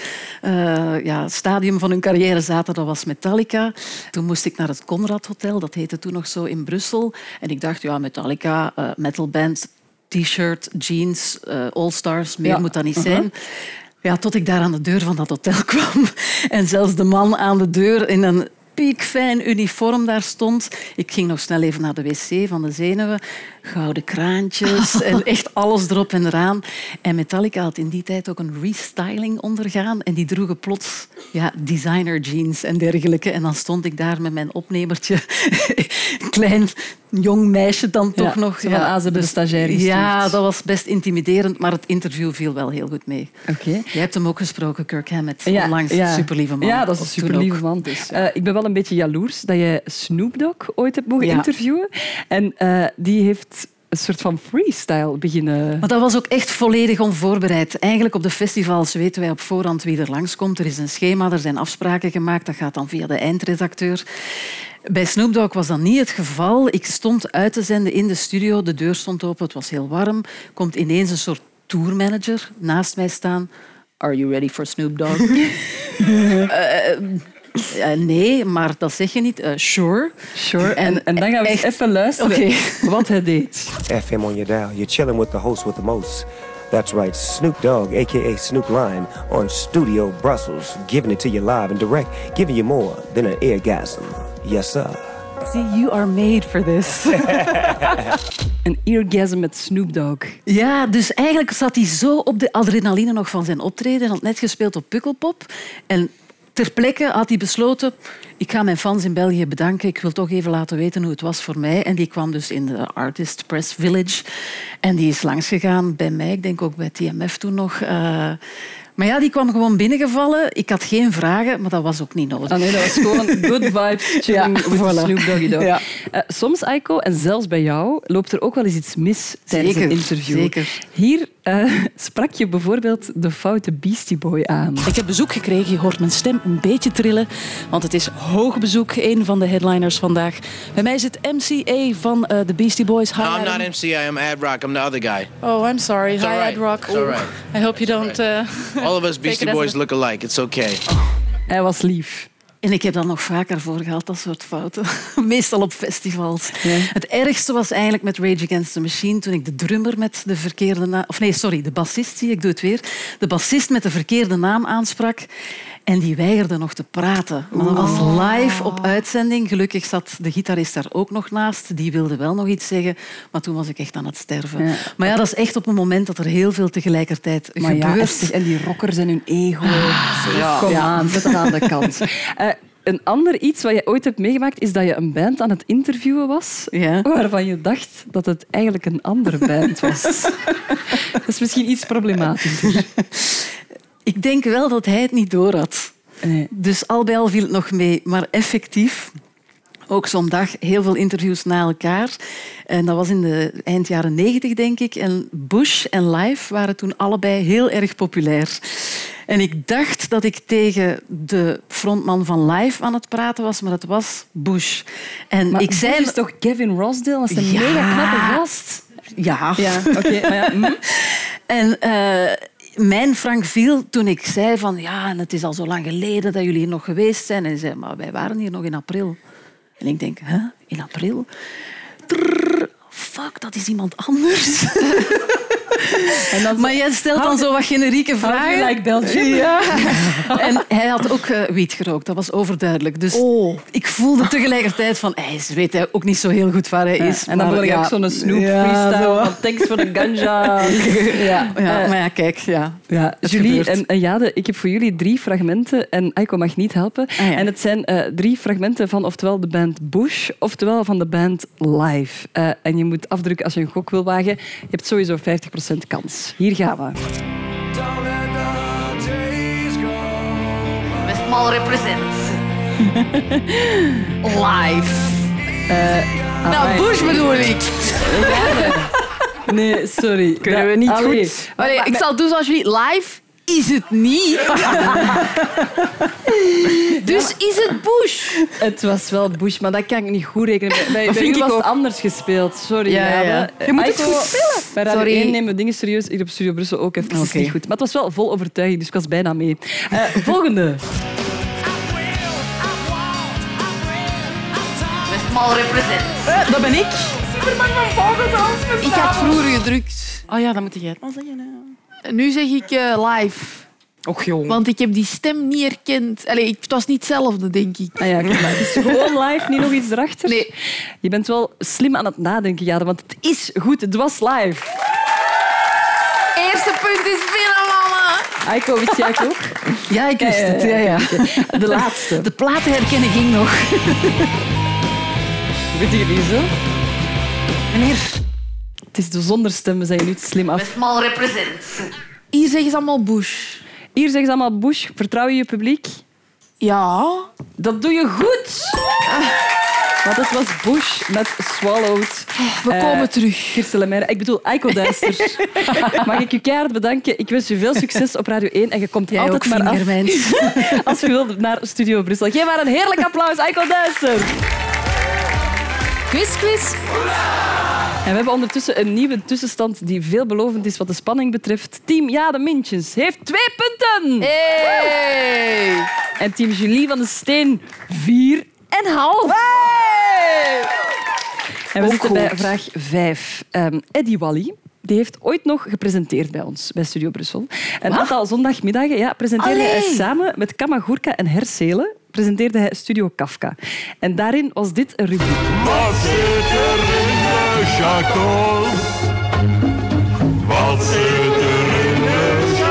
C: eh, ja, stadium van hun carrière zaten, dat was Metallica. Toen moest ik naar het Conrad Hotel, dat heette toen nog zo in Brussel. En ik dacht, ja, Metallica, eh metalband, t-shirt, jeans, eh, all-stars, meer
B: Ja.
C: moet dat niet
B: Mhm.
C: zijn. Ja, tot ik daar aan de deur van dat hotel kwam en zelfs de man aan de deur in een piekfijn uniform daar stond. Ik ging nog snel even naar de wc van de zenuwen. Gouden kraantjes en echt alles erop en eraan. En Metallica had in die tijd ook een restyling ondergaan en die droegen plots ja, designer jeans en dergelijke. En dan stond ik daar met mijn opnemertje. Klein, jong meisje dan
B: Ja,
C: toch nog. Dus
B: zo van, ah, ze hebben de stagiair gestuurd.
C: Ja, dat was best intimiderend, maar het interview viel wel heel goed mee.
B: Oké.
C: Jij hebt hem ook gesproken, Kirk Hammett, onlangs. Superlieve man.
B: Ja, dat is een
C: Of toen
B: superlieve
C: ook.
B: man. Eh, ik ben wel een beetje jaloers dat je Snoop Dogg ooit hebt mogen
C: Ja.
B: interviewen. En eh, die heeft een soort van freestyle beginnen...
C: Maar dat was ook echt volledig onvoorbereid. Eigenlijk op de festivals weten wij op voorhand wie er langskomt. Er is een schema, er zijn afspraken gemaakt. Dat gaat dan via de eindredacteur. Bij Snoop Dogg was dat niet het geval. Ik stond uit te zenden in de studio. De deur stond open, het was heel warm. Komt ineens een soort tourmanager naast mij staan. Are you ready for Snoop Dogg? Eh, eh, eh, nee, maar dat zeg je niet. Eh, sure.
B: Sure. En, en dan gaan we eens even luisteren
C: Oké.
B: wat hij deed.
N: FM on your dial. You're chilling with the host with the most. That's right, Snoop Dogg, aka Snoop Lion, on Studio Brussels, giving it to you live and direct, giving you more than an eargasm. Yes, sir.
C: See, you are made for this.
B: Een eargasm met Snoop Dogg.
C: Ja, dus eigenlijk zat hij zo op de adrenaline nog van zijn optreden. Hij had net gespeeld op Pukkelpop. En ter plekke had hij besloten... Ik ga mijn fans in België bedanken. Ik wil toch even laten weten hoe het was voor mij. En die kwam dus in de Artist Press Village. En die is langsgegaan bij mij. Ik denk ook bij TMF toen nog. Eh, maar ja, die kwam gewoon binnengevallen. Ik had geen vragen, maar dat was ook niet nodig.
B: Ah nee, dat was gewoon good vibes, chilling
C: Ja,
B: with
C: voilà.
B: Snoop Doggy Dogg.
C: Ja.
B: Eh, soms, Aiko, en zelfs bij jou, loopt er ook wel eens iets mis tijdens
C: Zeker,
B: een interview.
C: zeker.
B: Hier eh, sprak je bijvoorbeeld de foute Beastie Boy aan.
D: Ik heb bezoek gekregen. Je hoort mijn stem een beetje trillen. Want het is hoog bezoek. Een van de headliners vandaag. Bij mij zit MCA van eh de Beastie Boys. Hi,
O: No, I'm
D: Adam.
O: not MCA. I'm Ad Rock. I'm the other guy.
D: Oh, I'm sorry.
O: It's
D: Hi,
O: all right.
D: Ad Rock.
O: It's all right.
D: I hope you don't... eh,
O: All of us
D: take it
O: Beastie
D: as
O: Boys
D: a-
O: look alike. It's okay.
B: Hij was lief.
D: En ik heb dat nog vaker voor gehad, dat soort fouten. Meestal op festivals. Het ergste was eigenlijk met Rage Against the Machine toen ik de drummer met de verkeerde naam... Of nee, sorry, de bassist, zie ik doe het weer. De bassist met de verkeerde naam aansprak en die weigerde nog te praten. Maar dat was
B: Oh.
D: live op uitzending. Gelukkig zat de gitarist daar ook nog naast. Die wilde wel nog iets zeggen, maar toen was ik echt aan het sterven.
B: Ja.
D: Maar ja, dat is echt op een moment dat er heel veel tegelijkertijd
B: Maar ja,
D: gebeurt.
B: echt, en die rockers en hun ego.
D: ja.
B: Kom
D: Ja.
B: aan, zet dat aan de kant. Eh, een ander iets wat je ooit hebt meegemaakt is dat je een band aan het interviewen was waarvan je dacht dat het eigenlijk een andere band was. dat is misschien iets problematischer.
D: Ik denk wel dat hij het niet door had. Dus al bij al viel het nog mee. Maar effectief, ook zo'n dag, heel veel interviews na elkaar. En dat was in de eind jaren negentig, denk ik. En Bush en Live waren toen allebei heel erg populair. En ik dacht dat ik tegen de frontman van Live aan het praten was, maar dat was Bush. En
B: Maar
D: ik zei...
B: Bush is toch Kevin Rosdale? Dat is een mega knappe gast.
D: Ja.
B: Ja, oké, maar ja, mhm.
D: En eh, mijn Frank viel toen ik zei van... Ja, en het is al zo lang geleden dat jullie hier nog geweest zijn. En hij zei, maar wij waren hier nog in april. En ik denk, hè, in april? Trrr, fuck, dat is iemand anders. maar jij stelt dan zo wat generieke
B: How do you
D: vragen.
B: like Belgium?
D: Ja. En hij had ook eh, wiet gerookt, dat was overduidelijk. Dus
B: Oh.
D: ik voelde tegelijkertijd van... Hij is- weet hij ook niet zo heel goed waar hij
B: Ja,
D: is.
B: en dan
D: maar
B: wil ik
D: ja.
B: ook zo'n snoep
D: Ja,
B: freestyle.
D: zo.
B: van thanks for the ganja.
D: Ja, ja,
B: Eh,
D: maar ja, kijk, ja.
B: Ja,
D: het
B: Julie
D: gebeurt.
B: en, en Jade, ik heb voor jullie drie fragmenten en Aiko mag niet helpen. En het zijn eh, drie fragmenten van oftewel de band Bush, oftewel van de band Live. Eh, en je moet afdrukken als je een gok wil wagen. Je hebt sowieso 50% kans. Hier gaan we.
E: Westmal represents. Live.
D: Eh, ah,
C: Nou, Bush bedoel ik.
B: Nee, sorry.
C: Kunnen we
D: Ah,
B: niet Allee.
C: goed. ik zal doen zoals jullie. Live is het niet.
B: Dus is het Bush? Het was wel Bush, maar dat kan ik niet goed rekenen. Bij, bij,
P: Dat
B: bij
P: vind
B: u
P: ik
B: was het
P: ook.
B: anders gespeeld. Sorry,
P: Ja, ja, ja.
B: Jade. Eh,
P: Je moet het
B: Aiko,
P: goed spelen.
B: Bij Radio
P: Sorry.
B: 1 nemen we dingen serieus. Hier op Studio Brussel ook even
P: Oké.
B: niet goed. Maar het was wel vol overtuiging, dus ik was bijna mee. Eh, volgende.
E: Westmal represents.
P: Eh, dat ben ik.
C: Ik had vroeger gedrukt.
P: Oh ja, dat moet jij het maar zeggen. hè.
C: En Nu zeg ik eh, live.
P: Och joh.
C: Want ik heb die stem niet herkend. Allee, ik, het was niet hetzelfde, denk ik.
B: Ah ja, kijk maar. Het is gewoon live, niet nog iets erachter. Nee. Je bent wel slim aan het nadenken, Jade, want het is goed. Het was live.
C: Eerste punt is binnen, mama.
B: Aiko, wist jij het ook?
D: Ja, ik wist het. Ja, ja.
B: De laatste.
D: De platen herkennen ging nog.
B: Weet je die zo? Meneer. Het is de zonder stemmen, zijn je nu te slim af.
E: Westmal represents.
B: Hier zeggen ze allemaal Bush. Hier zeggen ze allemaal Bush. Vertrouw je je publiek? Ja. Dat doe je goed. Want het Ah, was Bush met Swallowed.
C: we
B: Eh,
C: komen terug.
B: Kirsten Lemaire. Ik bedoel, Eiko Duister. Mag ik u keihard bedanken. Ik wens u veel succes op Radio 1. En je komt
D: Jij
B: altijd
D: ook,
B: maar af
D: vingerwijns.
B: als je wilt naar Studio Brussel. Geef maar een heerlijk applaus, Eiko Duister. Quiz, quiz. En we hebben ondertussen een nieuwe tussenstand die veelbelovend is wat de spanning betreft. Team Jade Mintjes heeft twee punten. Hey. En team Julie van de Steen vier en half. En we
D: Ook
B: zitten bij
D: goed.
B: vraag vijf. Ehm Eddie Wally. Die heeft ooit nog gepresenteerd bij ons, bij Studio Brussel. Een aantal zondagmiddagen ja, presenteerde hij
D: Allee.
B: samen met Kamagurka en Herselen presenteerde hij Studio Kafka. En daarin was dit een rubriek.
N: Wat zit er in de chacos? Wat zit er in de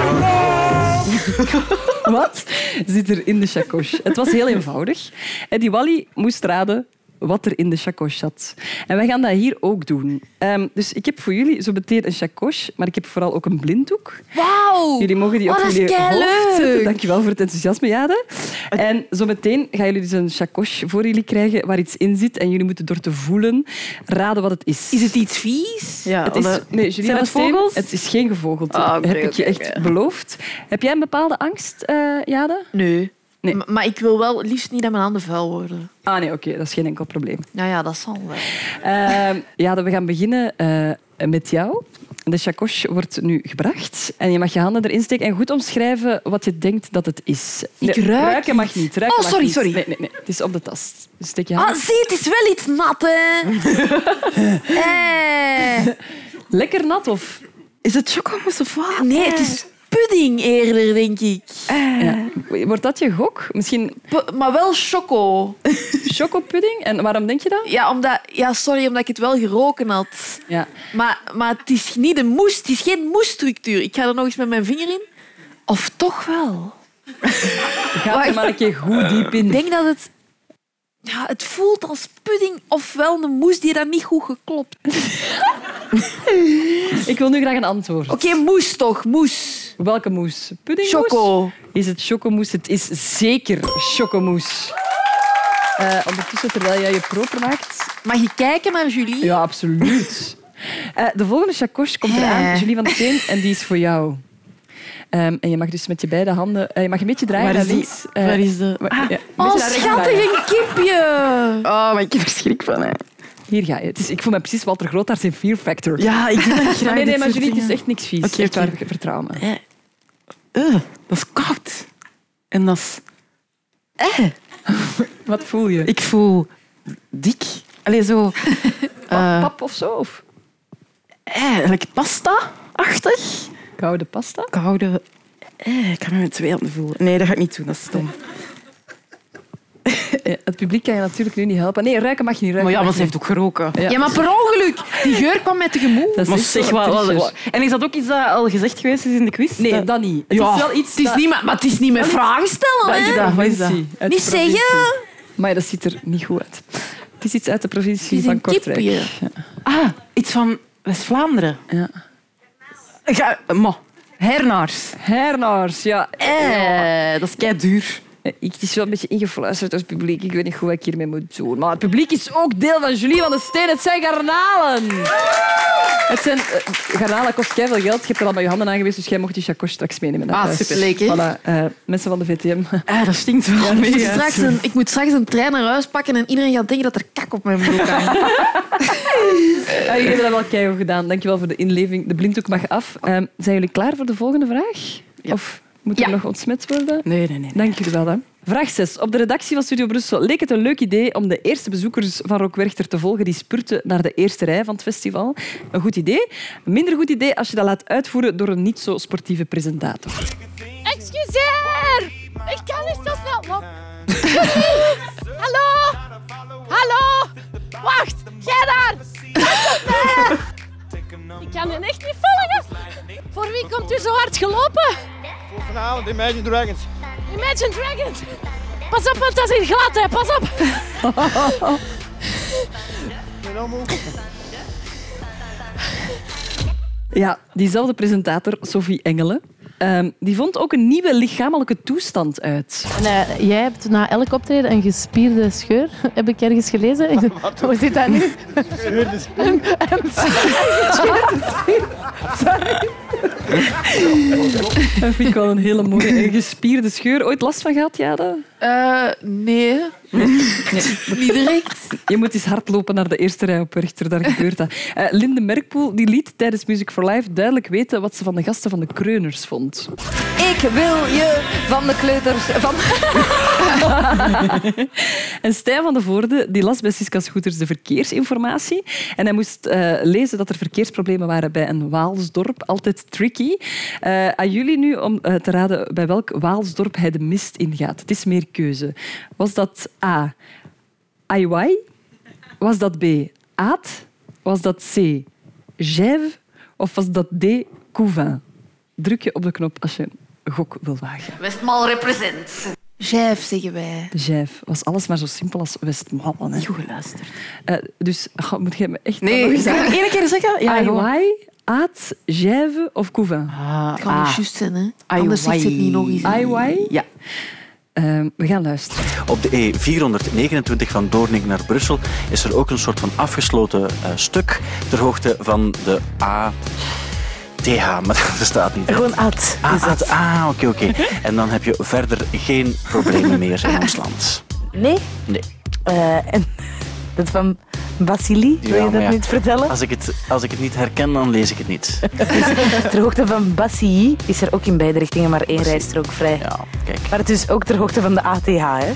N: chacos?
B: Wat zit er in de chacos? Het was heel eenvoudig. En die Wally moest raden wat er in de chacos zat. En wij gaan dat hier ook doen. Ehm, dus ik heb voor jullie zo meteen een chacos, maar ik heb vooral ook een blinddoek.
C: Wauw.
B: Jullie mogen die op
C: Oh, dat is
B: jullie hoofd
C: keileuk.
B: zetten. Dankjewel voor het enthousiasme, Jade. En zometeen gaan jullie dus een chacos voor jullie krijgen waar iets in zit. En jullie moeten door te voelen raden wat het is. Is
C: het iets vies?
B: Ja, het is,
P: alle-
B: nee, Julie
P: eh, Zijn
B: van
P: het
B: Steen,
P: vogels?
B: Het is geen gevogelte.
P: Ah, oké,
B: heb ik je
P: oké,
B: echt
P: oké.
B: beloofd. Heb jij een bepaalde angst, eh, Jade?
C: Nee.
B: Nee.
C: M- maar ik wil wel liefst niet dat mijn handen vuil worden.
B: Ah nee, oké, dat is geen enkel probleem.
C: Nou ja, dat zal wel.
B: Ehm, ja, dan we gaan beginnen eh, met jou. De chacoche wordt nu gebracht en je mag je handen erin steken en goed omschrijven wat je denkt dat het is.
C: Ik
B: Nee,
C: ruik
B: ruiken mag niet. ruiken
C: Oh,
B: mag
C: sorry,
B: niet.
C: sorry.
B: Nee, nee, nee. Het is op de tas. Dus steek je
C: Ah,
B: handen.
C: zie, het is wel iets nat, hè. Eh.
B: Lekker nat, of? Ah,
C: Is het chocomousse of wat? Nee, het is pudding eerder, denk ik.
B: Ja. Wordt dat je gok? Misschien...
C: maar wel choco.
B: Chocopudding? En waarom denk je dat?
C: Ja, omdat, ja, sorry, omdat ik het wel geroken had.
B: Ja.
C: Maar, maar het is niet een moes. Het is geen moesstructuur. Ik ga er nog eens met mijn vinger in. Of toch wel.
B: Ga er maar een keer goed diep in.
C: Ik denk dat het... Ja, het voelt als pudding of wel een moes die daar niet goed geklopt.
B: Ik wil nu graag een antwoord.
C: Oké, moes toch, moes.
B: Welke moes? Puddingmoes?
C: Choco.
B: Is het chocomoes? Het is zeker chocomoes. Eh, ondertussen, terwijl jij je proper maakt...
C: Mag je kijken naar Julie?
B: Ja, absoluut. Eh, de volgende chacoche komt
C: Eh.
B: eraan, Julie van der Teen, en die is voor jou. Ehm, en je mag dus met je beide handen... eh, je mag een beetje draaien
D: Waar
B: naar
D: is die-
B: links. Eh,
D: waar is de- Ah.
B: wa- ja, een beetje
C: Oh,
B: naar rechts draaien.
C: schattig, een kipje.
D: Oh, maar ik heb er schrik van. Hè.
B: Hier ga je. Het is, ik voel me precies Walter Grootaars in Fear Factor.
D: Ja, ik doe dat graag,
B: Maar Nee, nee,
D: dit
B: maar
D: soort
B: Julie, het is
D: dingen.
B: echt niks vies.
D: Oké,
B: Echt waar,
D: oké.
B: Vertrouw me.
D: Eh, dat is koud. En dat is... Eh.
B: Wat voel je?
D: Ik voel dik. Allee, zo... eh,
B: Pap of zo? Of?
D: eh, like pasta-achtig.
B: Koude pasta?
D: Koude... Eh, ik kan me met twee handen voelen. Nee, dat ga ik niet doen. Dat is stom.
B: Ja, het publiek kan je natuurlijk nu niet helpen. Nee, ruiken mag je niet ruiken.
D: Maar ja,
B: mag
D: want
B: je
D: ze
B: niet.
D: heeft ook geroken.
B: Ja.
C: Ja, maar per ongeluk. Die geur kwam mij tegemoet.
B: Dat is
D: Maar
B: echt
D: zeg,
B: zo'n
D: wat, wat-
B: trigger.
D: wat- En is dat ook iets dat al gezegd geweest is in de quiz?
B: Nee, dat niet. Het
D: Ja.
B: is wel iets
C: Het is
B: dat-
C: niet, maar, maar het is niet met
B: Wel iets-
C: vragen stellen,
B: Wat is
C: hè?
B: dat? Wat is dat?
D: Provincie.
B: Eh, Uit
C: Niet
B: de provincie.
C: zeggen.
B: Maar dat ziet er niet goed uit. Het is iets uit de provincie
D: Het is
B: van
D: een
B: Kortrijk.
D: kipje. Ah, iets van West-Vlaanderen.
B: Ja.
D: Ga, ma, hernaars.
B: Hernaars, ja.
D: Eh, dat is kei duur.
B: Eh, Ik, het is wel een beetje ingefluisterd door het publiek. Ik weet niet goed wat ik hiermee moet doen. Maar het publiek is ook deel van Julie van de Steen. Het zijn garnalen. Het zijn, eh, garnalen kost veel geld. Je hebt er al met je handen aan geweest, dus jij mocht die chacoche straks meenemen. naar
D: Ah,
B: huis.
D: super. Leuk, hè?
B: Voilà, eh, mensen van de VTM.
D: Ah, dat stinkt wel
B: Ja, dat
D: mee.
C: Ik moet,
D: hè.
C: straks een, ik moet straks een trein naar huis pakken en iedereen gaat denken dat er kak op mijn broek hangt.
B: Ja, jullie hebben dat wel keihard gedaan. Dankjewel voor de inleving. De blinddoek mag af. Ehm, zijn jullie klaar voor de volgende vraag? Of moet er nog ontsmet worden?
D: Nee, nee, nee.
B: Dank jullie wel. Hè. Vraag 6. Op de redactie van Studio Brussel leek het een leuk idee om de eerste bezoekers van Rock Werchter te volgen die spurten naar de eerste rij van het festival. Een goed idee. Een minder goed idee als je dat laat uitvoeren door een niet zo sportieve presentator.
Q: Excuseer! Ik kan niet zo snel. Wat? Hallo? Hallo? Wacht, Gerard! Excuseer! Ik kan je echt niet volgen. Voor wie komt u zo hard gelopen?
R: Voor vanavond Imagine Dragons.
Q: Imagine Dragons. Pas op, want dat is hier glad, hè. Pas op.
B: Ja, diezelfde presentator, Sophie Engelen, ehm, die vond ook een nieuwe lichamelijke toestand uit.
S: En, eh, jij hebt na elk optreden een gespierde scheur, heb ik ergens gelezen. Hoe zit dat nu?
R: Gescheurde spier.
S: Een, een gescheurde spier. Sorry.
B: Dat vind ik wel een hele mooie. Een gespierde scheur. Ooit last van gehad, Jade?
C: Eh, nee.
B: Niet direct. Je moet eens hardlopen naar de eerste rij op Werchter, daar gebeurt dat. Eh, Linde Merkpoel die liet tijdens Music for Life duidelijk weten wat ze van de gasten van de Kreuners vond.
T: Ik wil je van de kleuters... Van...
B: En Stijn van de Voorde die las bij Siska Scooters de verkeersinformatie. En hij moest eh, lezen dat er verkeersproblemen waren bij een Waalsdorp. Altijd tricky. Eh, aan jullie nu om eh, te raden bij welk Waalsdorp hij de mist ingaat. Het is meer keuze. Was dat A. Aiwai? Was dat B. Aat? Was dat C. Gève? Of was dat D. Couvin? Druk je op de knop als je een gok wil wagen.
E: Westmal represents.
C: Jijf, zeggen wij.
B: De Jijf was alles maar zo simpel als Westmallen. Goed
D: geluisterd.
B: dus goh, moet jij me echt...
D: Nee,
B: nog eens
D: ik kan
B: zeggen?
D: het één keer zeggen.
S: Ah,
D: Ja, gewoon.
B: Aiwai, Aat, Jijve of Couvin?
D: Ah,
C: Het kan niet juist zijn, hè. Anders zegt het niet nog eens.
B: Aiwai?
D: Ja.
B: Ehm, we gaan luisteren.
N: Op de E429 van Doornik naar Brussel is er ook een soort van afgesloten eh, stuk ter hoogte van de ATH, maar dat staat niet.
D: Gewoon at.
N: Ah, ah, ah, oké, oké. En dan heb je verder geen problemen meer in ons land.
U: Nee?
N: Nee.
U: Eh, en dat van
A: Basili, wil
N: Ja,
A: je
N: maar
A: dat
N: ja,
A: niet vertellen?
N: Als ik, het, als ik het niet herken, dan lees ik het niet.
A: ter hoogte van Basili is er ook in beide richtingen maar één rijstrook vrij.
N: kijk.
A: Maar het is ook ter hoogte van de ATH, hè?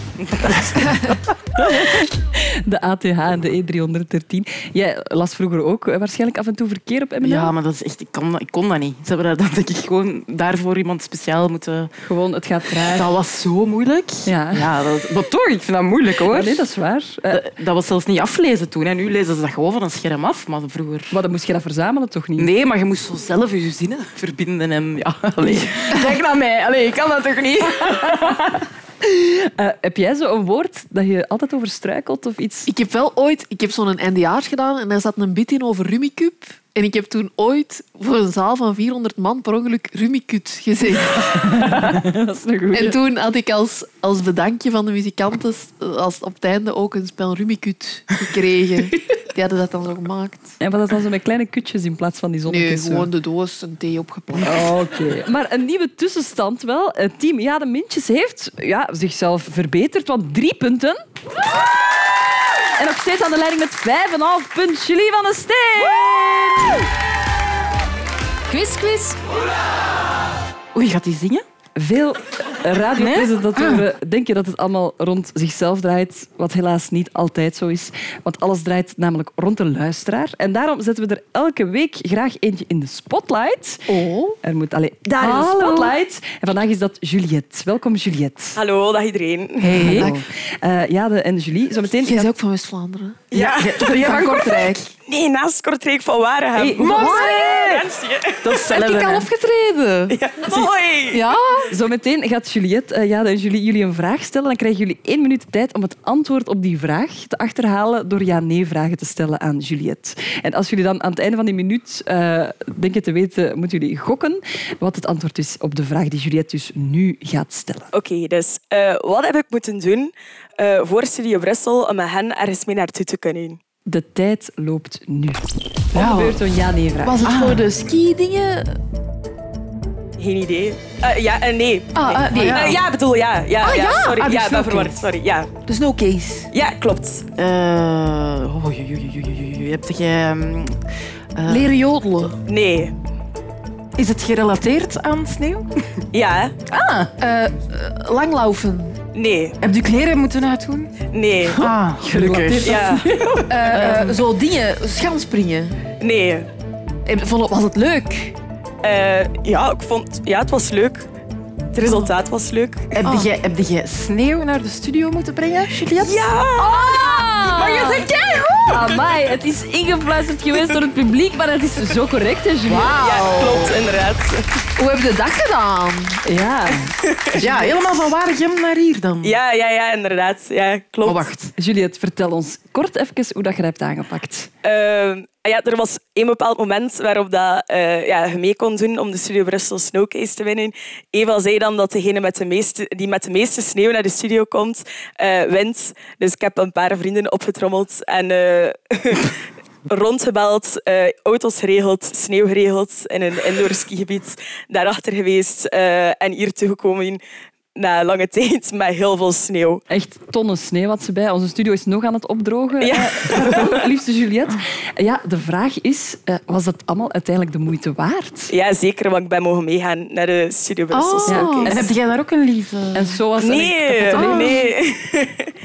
B: De ATH en de E313. Jij las vroeger ook eh, waarschijnlijk af en toe verkeer op M&M.
D: Ja, maar dat is echt, ik, kon, dat- ik kon dat niet. Ze hebben dat, dat denk ik gewoon daarvoor iemand speciaal moeten...
B: Gewoon, het gaat traag.
D: Dat was zo moeilijk.
B: Ja.
D: ja dat, maar toch, ik vind dat moeilijk hoor.
B: Ja, nee, dat is waar. Eh,
D: dat, dat was zelfs niet aflezen toen. Hè. Nu lezen ze dat gewoon van een scherm af, maar vroeger...
B: Maar dan moest je dat verzamelen toch niet?
D: Nee, maar je moest zo zelf je zinnen verbinden en... Ja, allee. Denk naar mij. Allee, ik kan dat toch niet?
B: Eh, heb jij zo een woord dat je altijd over struikelt of iets?
C: Ik heb wel ooit... Ik heb zo'n NDA's gedaan en daar zat een bit in over Rummikub. En ik heb toen ooit voor een zaal van 400 man per ongeluk Rummikut gezegd.
B: dat is een goeie.
C: En toen had ik als, als bedankje van de muzikanten als op het einde ook een spel Rummikut gekregen. Die hadden dat dan zo gemaakt.
B: En wat dat dan zo met kleine kutjes in plaats van die zonnetjes?
C: Nee,
B: zo?
C: gewoon de doos een thee opgeplakt.
B: Oh, Oké. Maar een nieuwe tussenstand wel. Het team Ja de Mintjes heeft ja, zichzelf verbeterd, want drie punten. En nog steeds aan de leiding met 5,5 punt. Julie van den Steen.
Q: Quiz, quiz.
D: Oei, gaat die zingen?
B: Veel
U: Ah.
B: radiopresentatoren denken dat het allemaal rond zichzelf draait, wat helaas niet altijd zo is. Want alles draait namelijk rond de luisteraar. En daarom zetten we er elke week graag eentje in de spotlight.
U: Oh.
B: Er moet alleen
U: Daar is de
B: Hallo.
U: spotlight. Ah,
B: En vandaag is dat Juliette. Welkom Juliette.
U: Hallo, dag iedereen.
B: Hey. Eh Jade en Julie, zometeen... Jij
C: is ook van West-Vlaanderen.
U: Ja,
B: Ja, toch niet van Kortrijk?
U: Nee, naast Kortrijk van Waregem.
B: Hey, mooi.
U: Dat
C: Heb ik al opgetreden?
U: Mooi.
C: Ja.
B: Zometeen gaat Juliette, eh, Jade en Julie jullie een vraag stellen. Dan krijgen jullie één minuut de tijd om het antwoord op die vraag te achterhalen door ja-nee-vragen te stellen aan Juliette. En als jullie dan aan het einde van die minuut eh, denken te weten, moeten jullie gokken wat het antwoord is op de vraag die Juliette dus nu gaat stellen.
U: Oké, dus eh, wat heb ik moeten doen eh, voor Studio Brussel om met hen ergens mee naartoe te kunnen?
B: De tijd loopt nu. Wat
U: Wauw.
B: gebeurt zo'n ja-nee-vraag?
U: Was het voor
C: de ski-dingen?
U: Ah. Geen idee. Eh, ja en nee.
C: Ah,
U: Nee.
C: ah, nee.
U: Eh, ja, bedoel, ja. ja,
C: Ah, ja.
U: Sorry,
C: Ah, dus
U: ja, ik ben
C: no
U: verward.
C: case.
U: Sorry, ja.
C: Dus no case.
U: Ja, klopt.
D: Eh, oei, oei, oei, oei, oei. Heb je... ehm, eh,
C: Leren jodelen?
U: Nee.
D: Is het gerelateerd aan sneeuw?
U: Ja.
D: Ah.
C: langlaufen?
U: Nee.
D: Heb je kleren moeten uitdoen?
U: Nee. Oh,
D: Ah, gelukkig.
U: Ja.
C: Eh, eh, zo dingen, schanspringen.
U: Nee.
C: Vond, was het leuk?
U: ja, ik vond... Ja, het was leuk. Het resultaat was leuk.
D: Heb, je, heb je sneeuw naar de studio moeten brengen, Juliette?
U: Ja!
D: Maar je zegt
B: Ah! Amai, het is ingefluisterd geweest door het publiek, maar het is zo correct, hè, Julie?
U: Ja, klopt, inderdaad.
C: Hoe heb je dat gedaan?
B: Ja.
D: Ja, helemaal van Waregem naar hier dan.
U: Oh.
D: Oh,
U: Ja, ja, ja, inderdaad. Ja, klopt.
D: wacht.
B: Juliette, vertel ons kort even hoe dat je dat hebt aangepakt.
U: Ehm, ja, er was een bepaald moment waarop dat, eh, ja, je mee kon doen om de Studio Brussel Snowcase te winnen. Eva zei dan dat degene met de meeste, die met de meeste sneeuw naar de studio komt, eh, wint. Dus ik heb een paar vrienden opgetrommeld en eh, rondgebeld, eh, auto's geregeld, sneeuw geregeld in een indoor skigebied. Daarachter geweest eh, en hier toegekomen na lange tijd met heel veel sneeuw.
B: Echt tonnen sneeuw had ze bij. Onze studio is nog aan het opdrogen.
U: Ja.
B: Eh, liefste Juliette. Ja, de vraag is, eh, was dat allemaal uiteindelijk de moeite waard?
U: Ja, zeker, want ik ben mogen meegaan naar de Studio Brussel Snowcase.
D: Oh. En heb jij daar ook een lieve? Oh.
B: En zo was dat echt
U: Nee,
B: kapotte leven.
U: nee.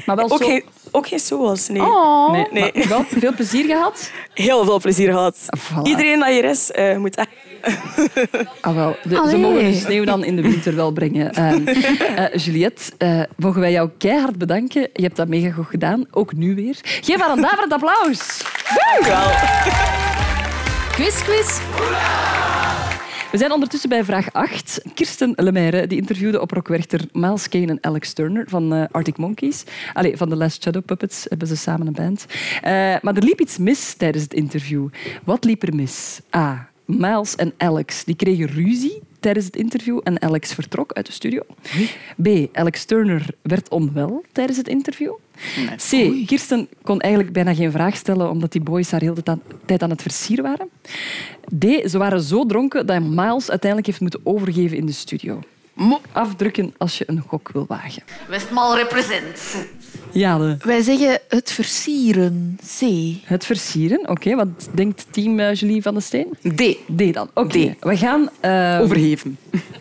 B: Maar wel
U: ook,
B: zo...
U: geen, ook geen zoals, nee.
B: Oh. Nee,
U: nee.
B: maar wel veel plezier gehad?
U: Heel veel plezier gehad. Iedereen dat hier is, eh, moet echt...
B: Ah, wel. De- ze
U: Allee.
B: mogen de sneeuw dan in de winter wel brengen. Ehm, eh, Juliette, eh, mogen wij jou keihard bedanken. Je hebt dat mega goed gedaan, ook nu weer. Geef haar een daverend applaus.
U: Dankjewel.
Q: Quiz, quiz.
B: We zijn ondertussen bij vraag 8. Kirsten Lemaire die interviewde op Rockwerchter Miles Kane en Alex Turner van eh, Arctic Monkeys. Allee, van The Last Shadow Puppets hebben ze samen een band. Eh, maar er liep iets mis tijdens het interview. Wat liep er mis? A. Miles en Alex die kregen ruzie tijdens het interview en Alex vertrok uit de studio. B. Alex Turner werd onwel tijdens het interview. C. Kirsten kon eigenlijk bijna geen vraag stellen omdat die boys haar heel de ta- tijd aan het versieren waren. D. Ze waren zo dronken dat Miles uiteindelijk heeft moeten overgeven in de studio. Afdrukken als je een gok wil wagen.
E: Westmal represents.
B: Jade.
C: Wij zeggen het versieren. C.
B: Het versieren, oké. Wat denkt team eh, Julie van den Steen? D. D dan, oké. We gaan... ehm,
D: Overheven.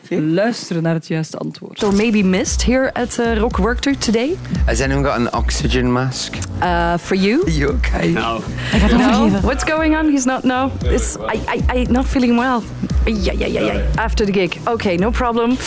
B: Luisteren naar het juiste antwoord.
F: So maybe missed here at uh, Rock Work Tour today
G: Has anyone got an oxygen mask?
F: uh, for you.
G: Are you okay? No.
F: No? What's going on? He's not. No, it's I. I. I not feeling well. Yeah, yeah, yeah, yeah. After the gig. Okay, no problem.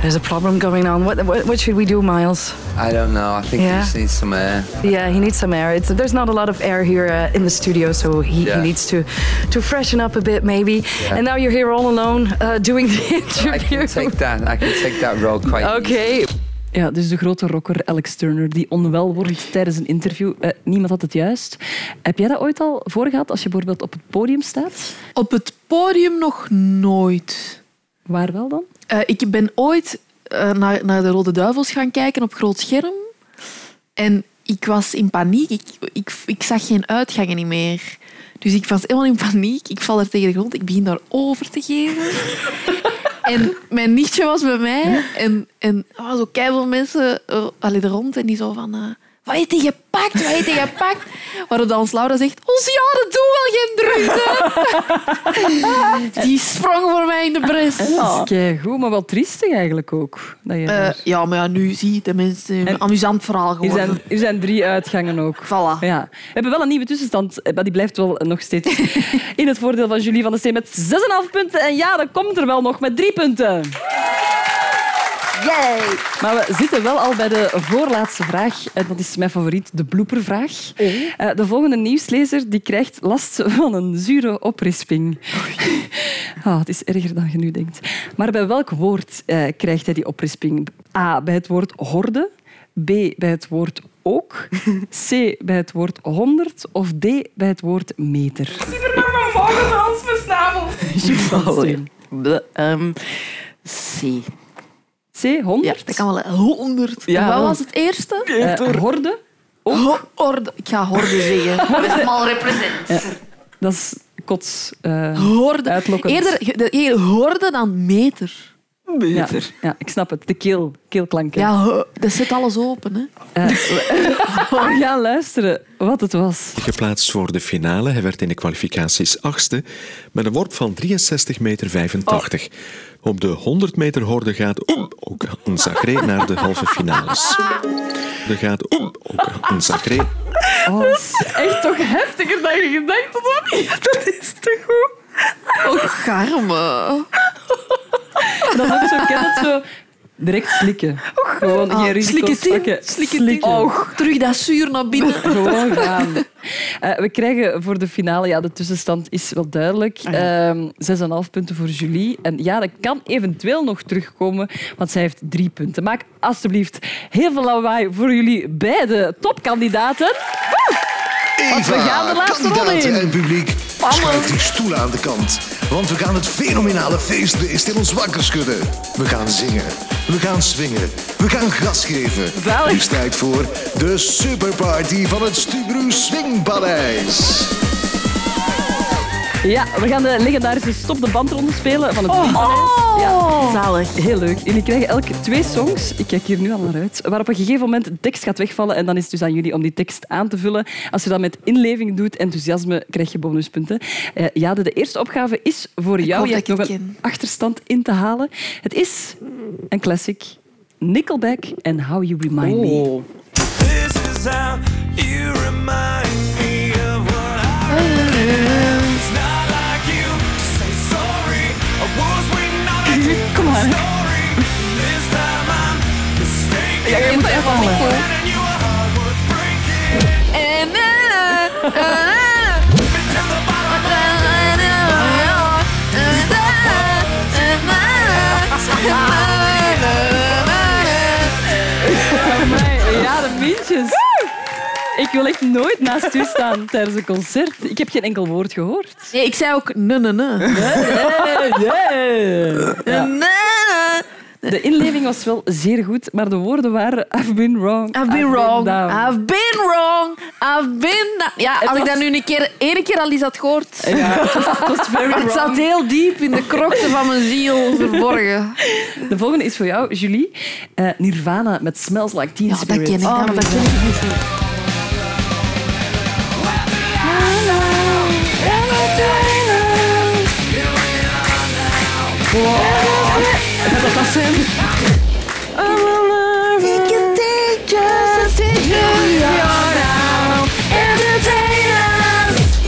F: There's a problem going on. What, what, what should we do, Miles?
G: I don't know. I think
F: Yeah.
G: you just need some air.
F: Yeah, he needs some air. It's, there's not a lot of air here uh, in the studio, so he,
G: Yeah.
F: he needs to to freshen up a bit, maybe.
G: Yeah.
F: And now you're here all alone uh, doing the
G: I
F: interview.
G: can take that. I can take that role quite
F: Okay.
B: Ja, dus de grote rocker Alex Turner, die onwel wordt tijdens een interview. Eh, niemand had het juist. Heb jij dat ooit al voor gehad, als je bijvoorbeeld op het podium staat?
C: Op het podium nog nooit.
B: Waar wel dan?
C: Eh, ik ben ooit eh, naar, naar de Rode Duivels gaan kijken op groot scherm. En ik was in paniek. Ik, ik, ik zag geen uitgangen niet meer. Dus ik was helemaal in paniek. Ik val er tegen de grond. Ik begin daar over te geven. en mijn nichtje was bij mij. En, en er waren zo keiveel mensen eh, allee, er rond. En die zo van... eh, wat heeft hij gepakt? Wat heeft hij gepakt? Waarop dan ons Laura zegt... Onze jaren doen wel geen drukte. die sprong voor mij in de bres.
F: Ah.
B: Dat is goed, maar wel triestig eigenlijk ook. Dat je
C: Eh, ja, maar ja, nu zie je tenminste een amusant verhaal
B: Er
C: geworden.
B: zijn, er zijn drie uitgangen ook. Voilà. Ja. We hebben wel een nieuwe tussenstand, eh, maar die blijft wel nog steeds in het voordeel van Julie van der Steen met 6,5 punten. En ja, dat komt er wel nog met drie punten. Yay! Maar we zitten wel al bij de voorlaatste vraag. En dat is mijn favoriet, de bloepervraag.
C: Oh.
B: Eh, de volgende nieuwslezer die krijgt last van een zure oprisping. Ah, het is erger dan je nu denkt. Maar bij welk woord eh, krijgt hij die oprisping? A. Bij het woord horde. B. Bij het woord ook. C. Bij het woord honderd. Of D. Bij het woord meter.
V: Volgens ons snavel.
D: Ehm, C.
B: C. 100?
C: dat kan wel 100.
D: Ja,
C: En wat
D: wel.
C: was het eerste? Eh,
B: Eh, horde.
C: Ho- horde. Ik ga horde zeggen.
E: Mal represent.
B: Ja, dat is kots. eh,
C: Horde.
B: Uitlokkend.
C: Eerder, ge- de- eerder horde dan Oh, meter.
B: Ja, ja, ik snap het. De keel, keelklanken.
C: Ja, ho- dat zit alles open. Hè.
B: Eh, we, we gaan luisteren wat het was.
W: Geplaatst voor de finale. Hij werd in de kwalificaties achtste met een worp van 63,85 meter. Op de 100 meter horde gaat ook een Zagré naar de halve finales. Er gaat ook een Zagré.
B: Dat is echt toch heftiger dan je gedacht had. of niet? Dat is te goed.
C: Oh, garme.
B: Dat is ook zo, ken het zo. Direct slikken. Gewoon
C: Ah,
B: geen risico's
C: slikken in,
B: pakken. Oh.
C: slikken in. Och, terug dat zuur naar binnen.
B: Gewoon gaan. Eh, we krijgen voor de finale, ja, de tussenstand is wel duidelijk. Ehm, 6,5 punten voor Julie. En ja, dat kan eventueel nog terugkomen, want zij heeft drie punten. Maak alsjeblieft heel veel lawaai voor jullie beide topkandidaten. Woe! Want we gaan de laatste ronde
X: kandidaten en
B: in.
X: publiek, schuif die stoelen aan de kant. Want we gaan het fenomenale feestbeest in ons wakker schudden. We gaan zingen, we gaan swingen, we gaan gas geven. Nu is tijd voor de superparty van het Stubru Swingpaleis.
B: Ja, we gaan eh, de legendarische dus Stop de Bandronde spelen van het oh. ja. Zalig. Heel leuk. Jullie krijgen elk twee songs. Ik kijk hier nu al naar uit. Waar op een gegeven moment de tekst gaat wegvallen. En dan is het dus aan jullie om die tekst aan te vullen. Als je dat met inleving doet, enthousiasme, krijg je bonuspunten. Eh Jade, de eerste opgave is voor jou.
C: hoop
B: Je
C: dat
B: hebt nog
C: ik het
B: een achterstand in te halen. Het is een classic. Nickelback en How You Remind
C: Oh.
B: Me.
V: Kom maar.
C: Ja, je moet echt vallen. En, eh, eh, eh.
B: Ja, de pintjes. Ik wil echt nooit naast u staan tijdens een concert. Ik heb geen enkel woord gehoord.
C: Nee, ik zei ook ne ne ne.
B: Ja.
C: Ne, ne,
B: De inleving was wel zeer goed, maar de woorden waren I've been wrong,
C: I've been wrong. Ah,
B: down.
C: I've been wrong. I've been. da- Ja,
B: Het
C: als ik
B: was-
C: dat nu een keer, één keer al eens had gehoord.
B: Ja, het was- het was very
C: Maar het
B: wrong.
C: zat heel diep in de krochten van mijn ziel verborgen.
B: De volgende is voor jou, Julie. Eh, Nirvana met Smells Like Teen Spirit. Oh.
C: ken ik, dat weet ik
B: Gaat dat zijn?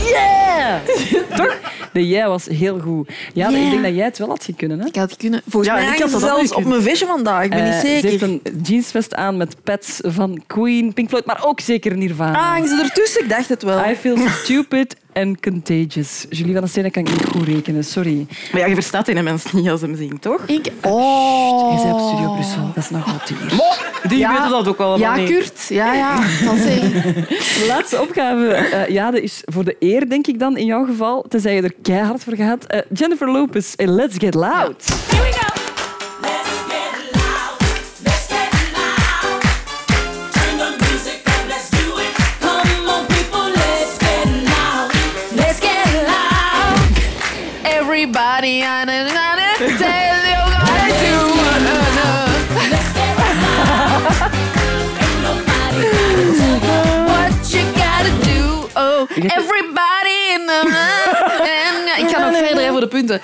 B: Yeah! Toch? De jij was heel goed. Ja, maar ik
H: Yeah.
B: denk dat jij het wel had kunnen. Hè? Ik
C: had kunnen. Volgens
H: Ja, mij ik had hangt ze dat ook zelfs kunnen. op mijn visje vandaag, ik ben
D: Eh,
H: niet
B: Ze
H: zeker.
B: heeft een jeansvest aan met pets van Queen, Pink Floyd, maar ook zeker Nirvana.
H: Ah, hangen ze ertussen? Ik dacht het
D: Ah,
H: wel.
B: I feel stupid and contagious. Julie van der Steen, dat kan ik niet goed rekenen, sorry.
D: Maar ja, je verstaat die mensen niet als ze hem zien, toch?
C: Ik... Oh.
B: Je bent op Studio Brussel, dat is nog wat duur.
D: Die weten dat ook allemaal
C: Ja,
D: niet.
C: Kurt. Ja, ja. Dat zeg ik.
B: De laatste opgave eh, ja, dat is voor de eer, denk ik dan, in jouw geval. Tenzij je er keihard voor gaat. Eh, Jennifer Lopez en Let's Get Loud.
C: Let's get loud. Everybody on it, on it. Tell you gotta do what I know. What you gotta do. Oh, everybody in the en, Ik ga nog verder hè, voor de punten.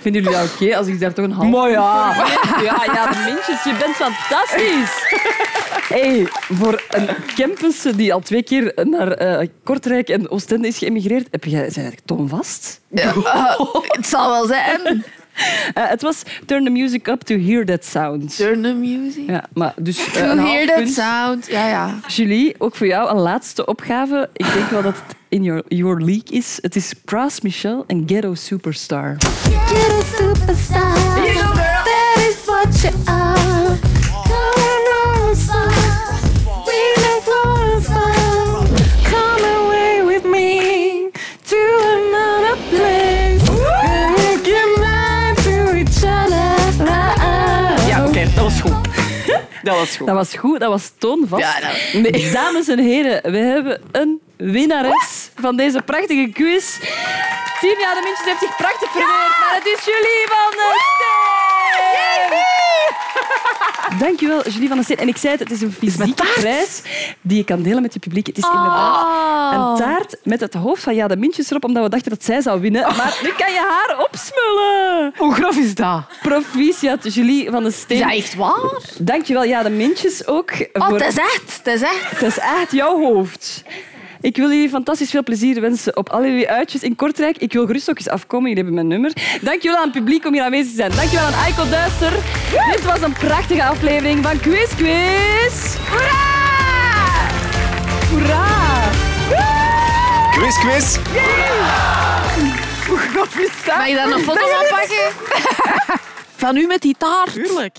B: Vinden jullie dat oké als ik daar toch een half...
C: Maar ja.
B: Ja, ja, de mintjes, je bent fantastisch. hey, voor een campus die al twee keer naar eh, Kortrijk en Oostende is geëmigreerd, heb jij, zijn eigenlijk toonvast?
C: Ja, eh, het zal wel zijn.
B: Eh, het was Turn the music up to hear that sound.
C: Turn the music.
B: Ja, maar dus eh,
C: To
B: een half
C: hear that
B: punt.
C: sound. Ja, ja.
B: Julie, ook voor jou een laatste opgave. Ik denk wel dat het in your, your league is. Het is Pras Michel en Ghetto Superstar.
I: Get a superstar. That is what you are. Come and roll us up. We make glorious love. Come away with me to another place. And we can lie to each other.
D: Ja, oké, dat was goed. Dat was goed.
B: Dat was goed, dat was toonvast.
D: Ja, dat- nee.
B: Dames en heren, we hebben een winnares van deze prachtige quiz. Team Ja de Mintjes heeft zich prachtig verweerd, maar het is Julie van der Steen. Dankjewel, Julie van der Steen. En ik zei het, het is een fysieke prijs die je kan delen met je publiek. Het is inderdaad een taart met het hoofd van Ja de Mintjes erop, omdat we dachten dat zij zou winnen. Maar nu kan je haar opsmullen. Hoe grof is dat? Proficiat, Julie van der Steen.
C: Is dat echt waar?
B: Dankjewel, ja, de mintjes ook.
C: Oh,
B: voor-
C: het is echt. Het is echt.
B: Het is echt jouw hoofd. Ik wil jullie fantastisch veel plezier wensen op al jullie uitjes in Kortrijk. Ik wil gerust ook eens afkomen, jullie hebben mijn nummer. Dankjewel aan het publiek om hier aanwezig te zijn. Dankjewel aan Aiko Duister. Dit was een prachtige aflevering van Quiz Quiz. Hoera! Hoera!
J: Quiz, quiz.
B: Hoe grof is dat?
C: Mag je daar nog foto's van pakken?
H: Van u met die taart.
D: Tuurlijk.